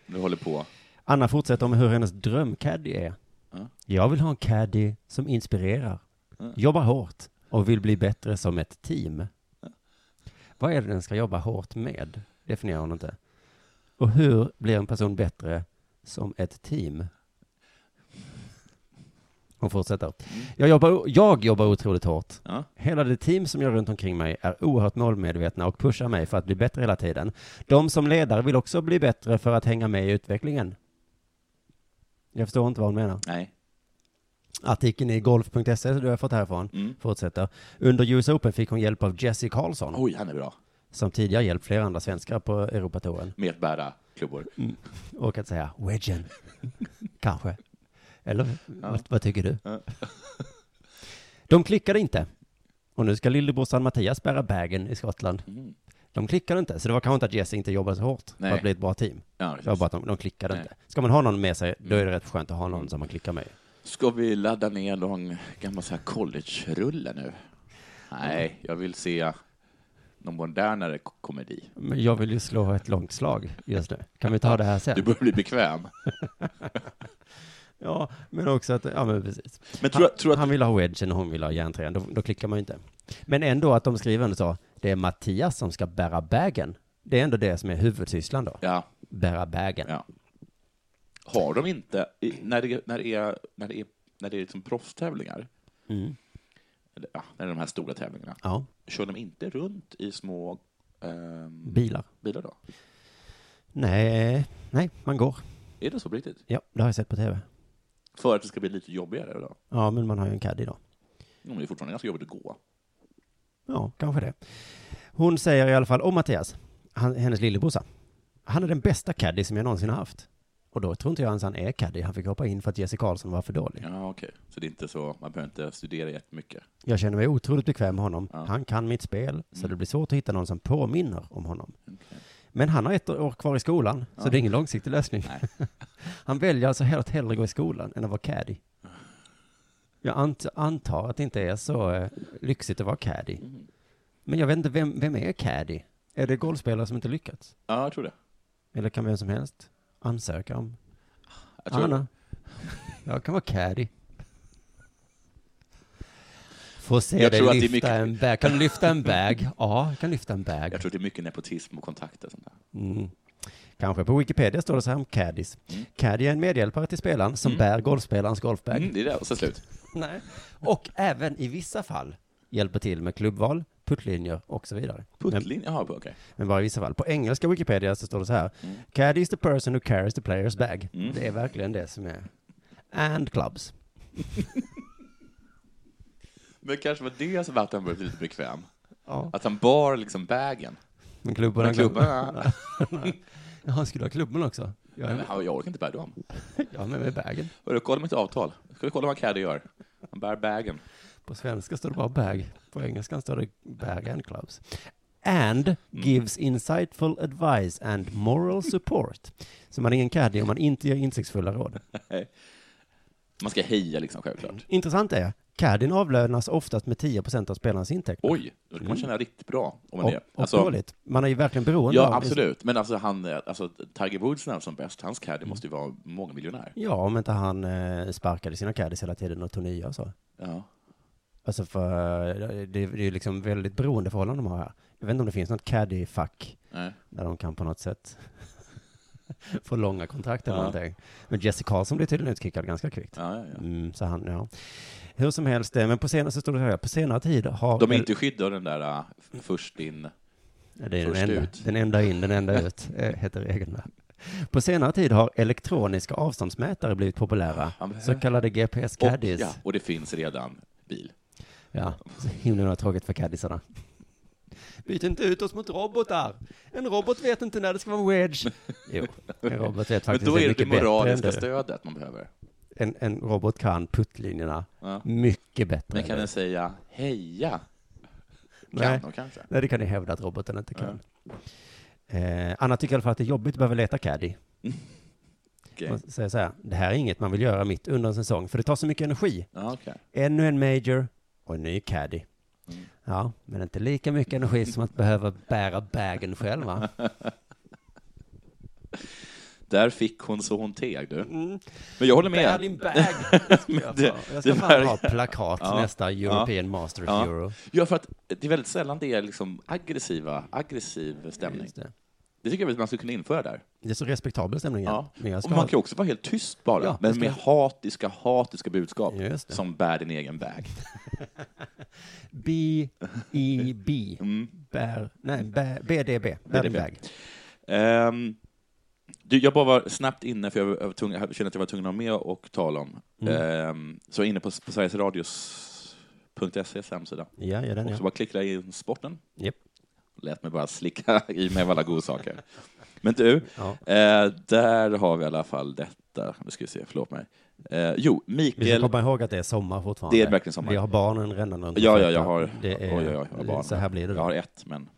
Speaker 4: du håller på.
Speaker 3: Anna fortsätter om hur hennes drömcaddy är.
Speaker 4: Ja.
Speaker 3: Jag vill ha en caddy som inspirerar, jobbar hårt och vill bli bättre som ett team. Vad är det den ska jobba hårt med? Definierar hon inte. Och hur blir en person bättre som ett team? Hon fortsätter. Jag jobbar, jag jobbar otroligt hårt.
Speaker 4: Ja.
Speaker 3: Hela det team som jag runt omkring mig är oerhört målmedvetna och pushar mig för att bli bättre hela tiden. De som ledare vill också bli bättre för att hänga med i utvecklingen. Jag förstår inte vad hon menar.
Speaker 4: Nej.
Speaker 3: Artikeln i golf.se som du har fått härifrån
Speaker 4: Mm.
Speaker 3: fortsätter. Under US Open fick hon hjälp av Jesse Karlsson,
Speaker 4: Oj, han är bra.
Speaker 3: som tidigare hjälpt flera andra svenskar på Europatouren.
Speaker 4: Med att bära klubbor.
Speaker 3: Och att säga
Speaker 4: [LAUGHS]
Speaker 3: wedgen. Kanske. Eller vad, vad tycker du?
Speaker 4: Ja.
Speaker 3: [LAUGHS] De klickade inte. Och nu ska lillebrorsan Mattias bära bagen i Skottland.
Speaker 4: Mm.
Speaker 3: De klickade inte, så det var kanske inte att Jesse inte jobbade så hårt
Speaker 4: Nej.
Speaker 3: för att bli ett bra team.
Speaker 4: Ja,
Speaker 3: Det var bara att de, de klickade
Speaker 4: Nej. Mm.
Speaker 3: inte. Ska man ha någon med sig, då är det rätt skönt att ha någon som man klickar med.
Speaker 4: Ska vi ladda ner någon gammal så här college-rulle nu? Nej, jag vill se någon modernare k- komedi.
Speaker 3: Men jag vill ju slå ett långt slag just nu. Kan vi ta det här
Speaker 4: Du
Speaker 3: sen?
Speaker 4: börjar bli bekväm.
Speaker 3: Ja, men också att, ja men precis.
Speaker 4: Men tror,
Speaker 3: han,
Speaker 4: jag- tror att...
Speaker 3: han vill ha wedgen och hon vill ha järnträn, då, då klickar man ju inte. Men ändå att de skriver ändå så, det är Mattias som ska bära bagen. Det är ändå det som är huvudsysslan då,
Speaker 4: Ja,
Speaker 3: bära bagen.
Speaker 4: ja. Har de inte, i- när det, när det är, när det är, när det är liksom proffstävlingar,
Speaker 3: Mm.
Speaker 4: eller, ja, när det är de här stora tävlingarna,
Speaker 3: Ja,
Speaker 4: kör de inte runt i små ehm,
Speaker 3: bilar.
Speaker 4: bilar då?
Speaker 3: Nej, nej, man går.
Speaker 4: Är det så på riktigt?
Speaker 3: Ja, det har jag sett på tv.
Speaker 4: För att det ska bli lite jobbigare då?
Speaker 3: Ja, men man har ju en caddy då.
Speaker 4: Jo, men det är fortfarande ganska jobbigt att gå.
Speaker 3: Ja, kanske det. Hon säger i alla fall om Mattias, han, hennes lillebrorsa. Han är den bästa caddy som jag någonsin har haft. Och då tror inte jag ens han är caddy. Han fick hoppa in för att Jesse Karlsson var för dålig.
Speaker 4: Ja, okej. Så det är inte så, man behöver inte studera jättemycket.
Speaker 3: Jag känner mig otroligt bekväm med honom.
Speaker 4: Ja.
Speaker 3: Han kan mitt spel, så det blir svårt att hitta någon som påminner om honom.
Speaker 4: Okej.
Speaker 3: Men han har ett år kvar i skolan, så det är ingen långsiktig lösning. [LAUGHS] han väljer alltså helt hellre gå i skolan än att vara caddy. Jag ant- antar att det inte är så eh, lyxigt att vara caddy. Men jag vet inte, vem, vem är caddy? Är det golfspelare som inte lyckats?
Speaker 4: Ja, jag tror det.
Speaker 3: Eller kan vem som helst ansöka om?
Speaker 4: Jag tror
Speaker 3: Anna, [LAUGHS] jag kan vara caddy. Får se
Speaker 4: Jag
Speaker 3: dig
Speaker 4: tror att det är
Speaker 3: lyfta
Speaker 4: mycket-
Speaker 3: en bag. Kan du lyfta
Speaker 4: [LAUGHS]
Speaker 3: en bag? Ja, jag kan lyfta en bag.
Speaker 4: Jag tror det är mycket nepotism och kontakter. Sånt där.
Speaker 3: Mm. Kanske på Wikipedia står det så här om caddies. Caddy är en medhjälpare till spelaren som bär golfspelarens golfbag.
Speaker 4: Mm, det är det, och så slut.
Speaker 3: [LAUGHS] Nej. Och även i vissa fall hjälper till med klubbval, puttlinjer och så vidare. Men,
Speaker 4: Puttlinje, jaha, okej.
Speaker 3: men bara i vissa fall. På engelska Wikipedia så står det så här.
Speaker 4: Mm.
Speaker 3: Caddy is the person who carries the player's bag. Det är verkligen det som är. And clubs.
Speaker 4: Men kanske var det som att han började bli lite bekväm.
Speaker 3: Ja.
Speaker 4: Att han bar liksom bagen.
Speaker 3: Men klubborna...
Speaker 4: Med klubborna.
Speaker 3: Ja, han skulle ha klubban också.
Speaker 4: Nej,
Speaker 3: Jag är
Speaker 4: men
Speaker 3: med,
Speaker 4: han- Jag orkar inte bära dem.
Speaker 3: jag är med mig i bagen.
Speaker 4: Hörru, kolla mitt avtal. Ska vi kolla vad Caddy gör? Han bär bagen.
Speaker 3: På svenska står det bara bag. På engelskan står det bag and clubs.
Speaker 4: Mm.
Speaker 3: And gives insightful advice and moral support. Så man är ingen caddy om man inte ger insiktsfulla råd.
Speaker 4: Man ska heja liksom, självklart.
Speaker 3: Intressant är, caddien avlönas oftast med 10% av spelarens intäkter.
Speaker 4: Oj, då kan man känna riktigt bra om man
Speaker 3: och,
Speaker 4: är. alltså,
Speaker 3: och dåligt. Man är ju verkligen beroende av...
Speaker 4: Ja, absolut. Men alltså, han, eh, alltså, Tiger Woods när han var som bäst, hans caddy måste ju vara mångmiljonär.
Speaker 3: Ja, om inte han eh, sparkade sina caddies hela tiden och tog nya och så.
Speaker 4: Ja.
Speaker 3: Alltså för, eh, det, det är ju liksom väldigt beroendeförhållande de har här. Jag vet inte om det finns något caddy-fack
Speaker 4: Nej.
Speaker 3: där de kan på något sätt [LAUGHS] få långa kontrakt eller
Speaker 4: Ja.
Speaker 3: någonting. Men Jesse Karlsson blev tydligen utkickad ganska kvickt.
Speaker 4: Ja, ja, ja.
Speaker 3: Mm, så han, ja. Hur som helst, eh, men på senare, så står det här, på senare tid har...
Speaker 4: De är inte skyddade av den där eh, f- först in...
Speaker 3: Ja, det är den
Speaker 4: först
Speaker 3: enda,
Speaker 4: ut.
Speaker 3: den enda in, den enda
Speaker 4: [LAUGHS]
Speaker 3: ut, eh, heter regeln där. På senare tid har elektroniska avståndsmätare blivit populära,
Speaker 4: Ja, men-
Speaker 3: så kallade
Speaker 4: Och,
Speaker 3: GPS-caddies.
Speaker 4: ja, och det finns redan bil.
Speaker 3: Ja, så himlen har tråkigt för caddisarna. Byt inte ut oss mot robotar. En robot vet inte när det ska vara wedge. Jo, en robot vet
Speaker 4: Men
Speaker 3: faktiskt
Speaker 4: då är det det
Speaker 3: mycket bättre
Speaker 4: moraliska
Speaker 3: än du.
Speaker 4: stödet man behöver.
Speaker 3: En, en robot kan puttlinjerna
Speaker 4: Ja.
Speaker 3: mycket bättre.
Speaker 4: Men
Speaker 3: än
Speaker 4: kan
Speaker 3: du.
Speaker 4: den säga heja?
Speaker 3: Nej.
Speaker 4: Kan de kanske?
Speaker 3: Nej, det kan ni hävda att roboten inte kan. Eh, Anna tycker i alla fall att det är jobbigt att behöva leta caddy.
Speaker 4: Okej.
Speaker 3: Och säger så här, det här är inget man vill göra mitt under en säsong, för det tar så mycket energi.
Speaker 4: Ja, okej.
Speaker 3: Ännu en major och en ny caddy.
Speaker 4: Mm.
Speaker 3: Ja, men inte lika mycket energi som att behöva bära bagen själv,
Speaker 4: [LAUGHS]
Speaker 3: va?
Speaker 4: Där fick hon så hon teg, du. Men jag håller
Speaker 3: Bär
Speaker 4: med.
Speaker 3: din
Speaker 4: [LAUGHS]
Speaker 3: bag! Det ska jag,
Speaker 4: det-
Speaker 3: det, jag ska
Speaker 4: det
Speaker 3: fan
Speaker 4: verkar-
Speaker 3: ha plakat
Speaker 4: Ja,
Speaker 3: nästa European Masters
Speaker 4: Ja.
Speaker 3: Euro.
Speaker 4: Ja, för att det är väldigt sällan det är liksom aggressiva, aggressiv stämning.
Speaker 3: Just det.
Speaker 4: Det tycker jag att man skulle kunna införa där.
Speaker 3: Det är så respektabel stämning.
Speaker 4: Ja.
Speaker 3: Men jag
Speaker 4: Och
Speaker 3: ska
Speaker 4: man
Speaker 3: ha...
Speaker 4: kan också vara helt tyst bara,
Speaker 3: Ja, jag
Speaker 4: men
Speaker 3: ska-
Speaker 4: med hatiska, hatiska budskap
Speaker 3: Just det.
Speaker 4: som bär din egen väg.
Speaker 3: B, E, B.
Speaker 4: Mm.
Speaker 3: Bär, nej, bär, BDB. Bär
Speaker 4: BDB.
Speaker 3: din väg.
Speaker 4: Ehm, du, jag bara var snabbt inne, för jag, var- jag, var tvungen- jag kände att jag var tvungen att ha med och tala om.
Speaker 3: Mm.
Speaker 4: Ehm, så jag var inne på, på Sveriges Radios.se E hemsida.
Speaker 3: Ja, ja, den
Speaker 4: Och så
Speaker 3: ja.
Speaker 4: bara klickade jag in sporten.
Speaker 3: Japp.
Speaker 4: Lät mig bara slicka i mig av alla goda saker. Men du,
Speaker 3: Ja.
Speaker 4: eh, där har vi i alla fall detta. Nu ska vi se, förlåt mig. Eh, jo,
Speaker 3: Vi ska
Speaker 4: Mikael.
Speaker 3: komma ihåg att det är sommar fortfarande.
Speaker 4: Det är verkligen sommar.
Speaker 3: Vi har barnen rännande runt.
Speaker 4: Ja, ja,
Speaker 3: fötterna.
Speaker 4: jag har,
Speaker 3: Det är...
Speaker 4: oj, oj, oj, jag har barn.
Speaker 3: Så här blir det
Speaker 4: Jag
Speaker 3: då.
Speaker 4: har ett, men...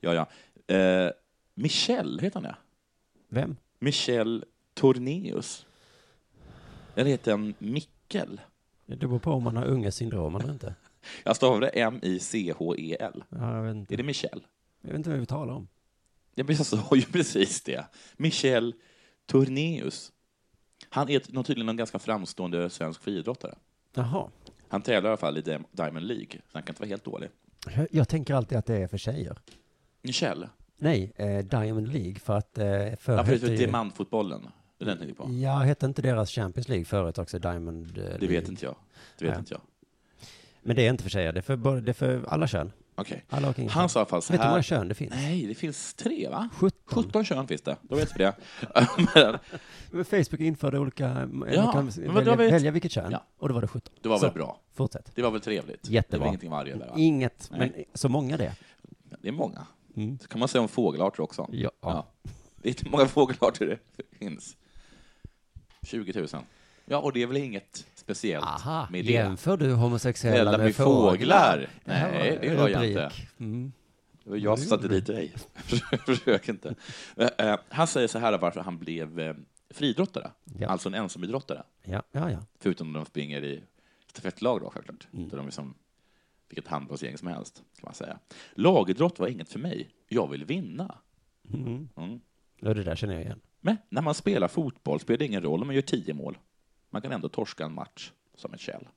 Speaker 4: Ja, ja. Eh, Michel, heter han det?
Speaker 3: Vem?
Speaker 4: Michel Tornéus. Eller heter han Mickel?
Speaker 3: Det beror på om man har ungesyndrom eller inte.
Speaker 4: Jag stavar det M-I-C-H-E-L.
Speaker 3: Ja, jag, vet
Speaker 4: E
Speaker 3: inte.
Speaker 4: Är det Michel?
Speaker 3: jag vet inte vad vi talar om.
Speaker 4: Ja, men Jag sa ju precis det. Michel Tornéus. Han är t- tydligen en ganska framstående svensk friidrottare.
Speaker 3: Jaha.
Speaker 4: Han tävlar i alla fall i Dim- Diamond League, så han kan inte vara helt dålig.
Speaker 3: Jag, jag tänker alltid att det är för tjejer.
Speaker 4: Michel?
Speaker 3: Nej, eh, Diamond League för att eh, förr
Speaker 4: Ja,
Speaker 3: hette
Speaker 4: för
Speaker 3: ju-
Speaker 4: diamantfotbollen. Det är den jag tänker på.
Speaker 3: Ja, hette inte deras Champions League förut också Diamond eh,
Speaker 4: Det
Speaker 3: League?
Speaker 4: vet inte jag. Det vet
Speaker 3: Nej.
Speaker 4: inte jag.
Speaker 3: Men det är inte för tjejer, det är för, både- det är för alla kön.
Speaker 4: Okej.
Speaker 3: Alla och inga
Speaker 4: Han
Speaker 3: kön.
Speaker 4: sa i alla fall så
Speaker 3: Vet du hur många
Speaker 4: här.
Speaker 3: kön det finns?
Speaker 4: Nej, det finns tre, va?
Speaker 3: 17.
Speaker 4: 17 kön finns det. Då vet vi
Speaker 3: [LAUGHS]
Speaker 4: det. [LAUGHS] Men
Speaker 3: Men Facebook införde olika, ja,
Speaker 4: Ja,
Speaker 3: man
Speaker 4: men
Speaker 3: kan
Speaker 4: vad
Speaker 3: välja,
Speaker 4: då vet-
Speaker 3: välja vilket kön.
Speaker 4: Ja.
Speaker 3: Och då var det 17.
Speaker 4: det var väl
Speaker 3: Så,
Speaker 4: bra.
Speaker 3: Fortsätt.
Speaker 4: Det var väl trevligt. Det
Speaker 3: Jättebra.
Speaker 4: var ingenting varje där, va?
Speaker 3: Inget,
Speaker 4: Nej.
Speaker 3: men så många det.
Speaker 4: Det är många.
Speaker 3: Mm.
Speaker 4: Så kan man säga om fågelarter också.
Speaker 3: Ja.
Speaker 4: Det är inte många fågelarter det finns. 20 000. Ja, och det är väl inget speciellt
Speaker 3: Aha,
Speaker 4: med det.
Speaker 3: jämför du homosexuella
Speaker 4: Eller
Speaker 3: med,
Speaker 4: med
Speaker 3: fåglar?
Speaker 4: fåglar?
Speaker 3: här
Speaker 4: Nej,
Speaker 3: var
Speaker 4: det
Speaker 3: en
Speaker 4: gör jag
Speaker 3: rubrik.
Speaker 4: inte.
Speaker 3: Mm.
Speaker 4: Det var jag som satte dit dig. [LAUGHS] Försök inte. Eh, eh, Han säger så här varför han blev eh, friidrottare,
Speaker 3: Ja.
Speaker 4: alltså en ensamidrottare.
Speaker 3: Ja, ja, ja.
Speaker 4: Förutom de springer i stafettlag då självklart. Där de är som vilket handbollsgäng som helst, kan man säga. Lagidrott var inget för mig. Jag vill vinna.
Speaker 3: Mm.
Speaker 4: Mm.
Speaker 3: Ja, det där känner jag igen.
Speaker 4: Men när man spelar fotboll spelar det ingen roll om man gör tio mål. Man kan ändå torska en match som en käll.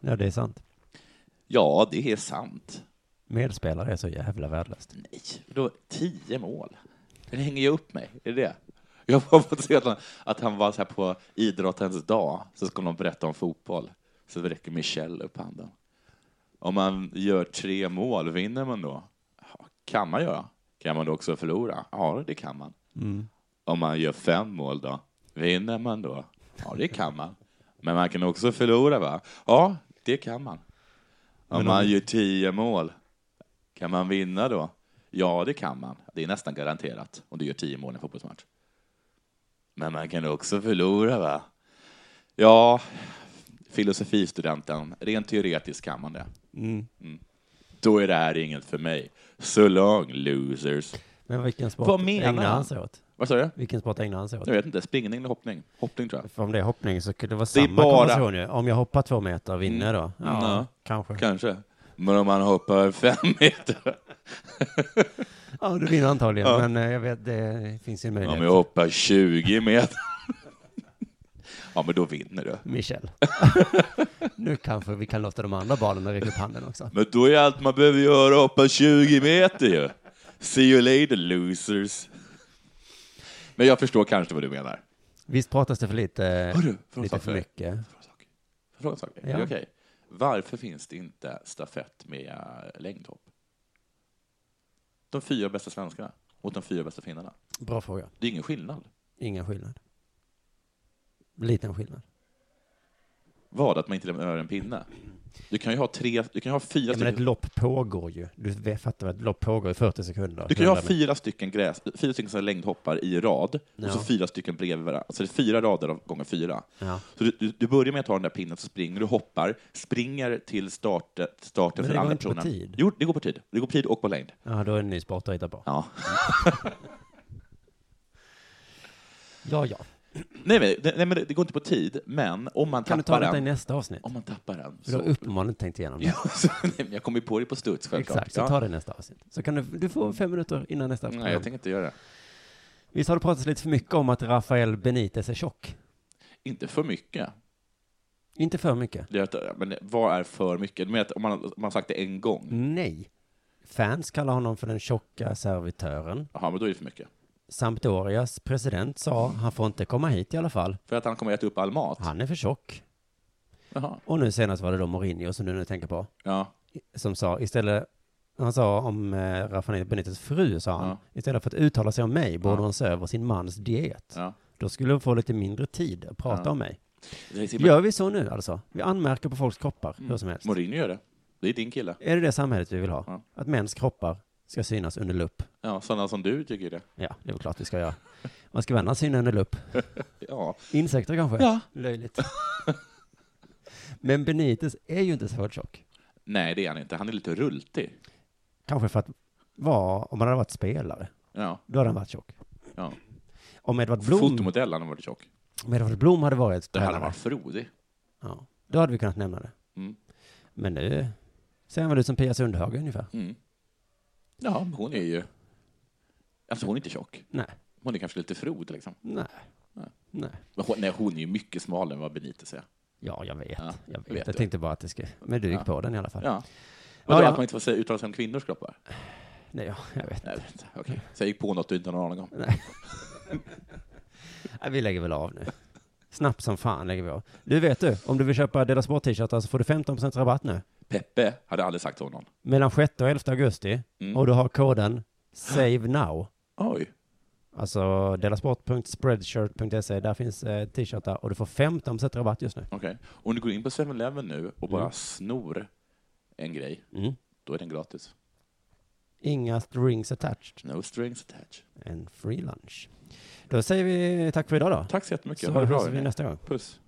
Speaker 3: Ja, det är sant.
Speaker 4: Ja, det är sant.
Speaker 3: Medspelare är så jävla värdelöst.
Speaker 4: Nej, då tio mål? Det hänger ju upp mig, är det det? Jag har fått se att han, att han var så här på idrottens dag, så ska någon berätta om fotboll. Så räcker Michel upp handen. Om man gör tre mål, vinner man då? Ja, Kan man göra. Kan man då också förlora? Ja, det kan man. Om man gör fem mål då? Vinner man då? Ja, det kan man. Men man kan också förlora, va? Ja, det kan man. Om man gör tio mål, kan man vinna då? Ja, det kan man. Det är nästan garanterat om du gör tio mål i en fotbollsmatch. Men man kan också förlora, va? Ja, filosofistudenten, rent teoretiskt kan man det. Mm. Då är det här inget för mig. So long, losers.
Speaker 3: Men vilken sport
Speaker 4: Vad menar
Speaker 3: ägnar han
Speaker 4: han?
Speaker 3: sig åt?
Speaker 4: Vad sa du?
Speaker 3: Vilken sport ägnar han sig åt?
Speaker 4: Jag vet inte, springning eller hoppning? Hoppning, tror jag.
Speaker 3: För om det är hoppning så kunde det vara
Speaker 4: Det är
Speaker 3: samma
Speaker 4: bara- Mm.
Speaker 3: konversation ju. Om jag hoppar två meter vinner jag då? Ja,
Speaker 4: Ja.
Speaker 3: kanske.
Speaker 4: Kanske. Men om man hoppar fem meter?
Speaker 3: Ja, du vinner antagligen. Men eh, jag vet, det finns ju en möjlighet.
Speaker 4: Om jag hoppar 20 meter? Ja, men då vinner du.
Speaker 3: Michel.
Speaker 4: [LAUGHS]
Speaker 3: nu kanske vi kan låta de andra barnen räcka upp handen också.
Speaker 4: Men då är allt man behöver göra att hoppa 20 meter ju. See you later losers. Men jag förstår kanske vad du menar.
Speaker 3: Visst pratas det för lite,
Speaker 4: Hörru, får jag
Speaker 3: lite
Speaker 4: säga
Speaker 3: för
Speaker 4: för-
Speaker 3: mycket?
Speaker 4: Fråga en sak. Är det
Speaker 3: Ja.
Speaker 4: okej? Varför finns det inte stafett med eh, längdhopp? De fyra bästa svenskarna mot de fyra bästa finnarna.
Speaker 3: Bra fråga.
Speaker 4: Det är ingen skillnad.
Speaker 3: Ingen skillnad. Liten skillnad.
Speaker 4: Vad? Att man inte lämnar över en pinne? Du kan ju ha, tre, du kan ju ha fyra
Speaker 3: Ja, men ett
Speaker 4: stycken
Speaker 3: lopp pågår ju. Du vet- fattar väl att ett lopp pågår i 40 sekunder?
Speaker 4: du kan ju ha
Speaker 3: 100
Speaker 4: fyra stycken, gräs, fyra stycken såna här längdhoppar i rad
Speaker 3: Ja.
Speaker 4: och så fyra stycken bredvid varandra. Så det är fyra rader av gånger fyra.
Speaker 3: Ja.
Speaker 4: Så du, du, du börjar med att ta den där pinnen, så springer du, hoppar, springer till start, starten för
Speaker 3: Men det
Speaker 4: den
Speaker 3: går
Speaker 4: andra
Speaker 3: inte på
Speaker 4: personen.
Speaker 3: tid.
Speaker 4: Jo, det går på tid. Det går på tid och på längd.
Speaker 3: Ja, då är det en ny sport att hitta på.
Speaker 4: Ja.
Speaker 3: Ja, ja.
Speaker 4: nej, men- nej, men det, det går inte på tid, men om man
Speaker 3: Kan du ta
Speaker 4: tappar
Speaker 3: detta i
Speaker 4: den...
Speaker 3: nästa avsnitt?
Speaker 4: Om man tappar den...
Speaker 3: För du har
Speaker 4: Så,
Speaker 3: uppenbarligen inte tänkt igenom
Speaker 4: [LAUGHS]
Speaker 3: det.
Speaker 4: ja, så, nej, men jag kommer ju på det på studs, självklart.
Speaker 3: Exakt, så
Speaker 4: ja.
Speaker 3: ta det i nästa avsnitt. Så kan du, du får fem minuter innan nästa avsnitt.
Speaker 4: Nej, jag tänker inte göra det.
Speaker 3: Visst har det pratats lite för mycket om att Rafael Benitez är tjock?
Speaker 4: Inte för mycket.
Speaker 3: Inte för mycket? Mm.
Speaker 4: Mm. Det är, att- men vad är för mycket? Du menar att om man, om man har sagt det en gång?
Speaker 3: Nej. Fans kallar honom för den tjocka servitören.
Speaker 4: Jaha, men då är det för mycket.
Speaker 3: Sampdorias president sa han får inte komma hit i alla fall.
Speaker 4: För att han kommer att äta upp all mat?
Speaker 3: Han är för tjock.
Speaker 4: Jaha.
Speaker 3: Och nu senast var det då Mourinho som du nu tänker på.
Speaker 4: Ja.
Speaker 3: Som sa istället, han sa om eh, Rafael Benites fru sa han,
Speaker 4: Ja.
Speaker 3: istället för att uttala sig om mig borde
Speaker 4: Ja.
Speaker 3: hon se över sin mans diet.
Speaker 4: ja.
Speaker 3: Då skulle hon få lite mindre tid att prata
Speaker 4: Ja.
Speaker 3: om mig.
Speaker 4: Det är Simon-
Speaker 3: Gör vi så nu alltså? Vi anmärker på folks kroppar
Speaker 4: Mm.
Speaker 3: hur som helst.
Speaker 4: Mourinho gör det. Det är din kille.
Speaker 3: Är det det samhället vi vill ha?
Speaker 4: Ja.
Speaker 3: Att mäns kroppar ska synas under lupp?
Speaker 4: Ja, sådana som du tycker det.
Speaker 3: Ja, det är väl klart vi ska göra. Man ska vända synen under lupp.
Speaker 4: Ja.
Speaker 3: Insekter kanske?
Speaker 4: Ja.
Speaker 3: Löjligt. Men Benitez är ju inte så tjock.
Speaker 4: Nej, det är han inte. Han är lite rultig.
Speaker 3: Kanske för att vara, om han hade varit spelare,
Speaker 4: Ja.
Speaker 3: då hade han varit tjock.
Speaker 4: ja.
Speaker 3: Om Edvard Blom,
Speaker 4: Fotomodell han har varit tjock.
Speaker 3: om Edvard Blom hade varit
Speaker 4: Det hade han
Speaker 3: tränare,
Speaker 4: varit frodig.
Speaker 3: ja, då hade vi kunnat nämna det.
Speaker 4: Mm.
Speaker 3: Men nu ser han väl ut som Pia Sundhage ungefär.
Speaker 4: Mm. Ja, men hon är ju... Alltså hon är inte tjock.
Speaker 3: Nej,
Speaker 4: Hon är kanske lite frodig liksom.
Speaker 3: nej,
Speaker 4: Nej.
Speaker 3: nej.
Speaker 4: Men hon, nej, hon är ju mycket smalare än vad Benitez är.
Speaker 3: Ja, jag vet.
Speaker 4: Ja,
Speaker 3: jag vet.
Speaker 4: vet
Speaker 3: jag
Speaker 4: du.
Speaker 3: tänkte bara att det ska... Men du gick
Speaker 4: Ja.
Speaker 3: på den i alla fall.
Speaker 4: Ja. Vadå,
Speaker 3: ja.
Speaker 4: att man inte får säga- uttala sig om kvinnors kroppar?
Speaker 3: Nej, ja, jag vet.
Speaker 4: Nej, vänta, okej. Så jag gick på något du inte har någon aning om?
Speaker 3: Nej, vi lägger väl av nu. Snabbt som fan lägger vi av. Du vet du, om du vill köpa Dela Sport-t-shirtar så får du 15% rabatt nu.
Speaker 4: Peppe hade aldrig sagt till honom.
Speaker 3: Mellan 6 och 11 augusti.
Speaker 4: Mm.
Speaker 3: Och du har koden SAVE NOW.
Speaker 4: Oj.
Speaker 3: Alltså delasport.spreadshirt.se. Där finns eh, t-shirtar och du får 15% rabatt just nu.
Speaker 4: Okej. Om du går in på 7-Eleven nu och bara
Speaker 3: Mm.
Speaker 4: snor en grej,
Speaker 3: Mm.
Speaker 4: då är den gratis.
Speaker 3: Inga strings attached.
Speaker 4: No strings attached.
Speaker 3: En free lunch. Då säger vi tack för idag då.
Speaker 4: Tack så jättemycket.
Speaker 3: så
Speaker 4: ha det bra.
Speaker 3: hörs vi
Speaker 4: hörni.
Speaker 3: nästa gång.
Speaker 4: Puss.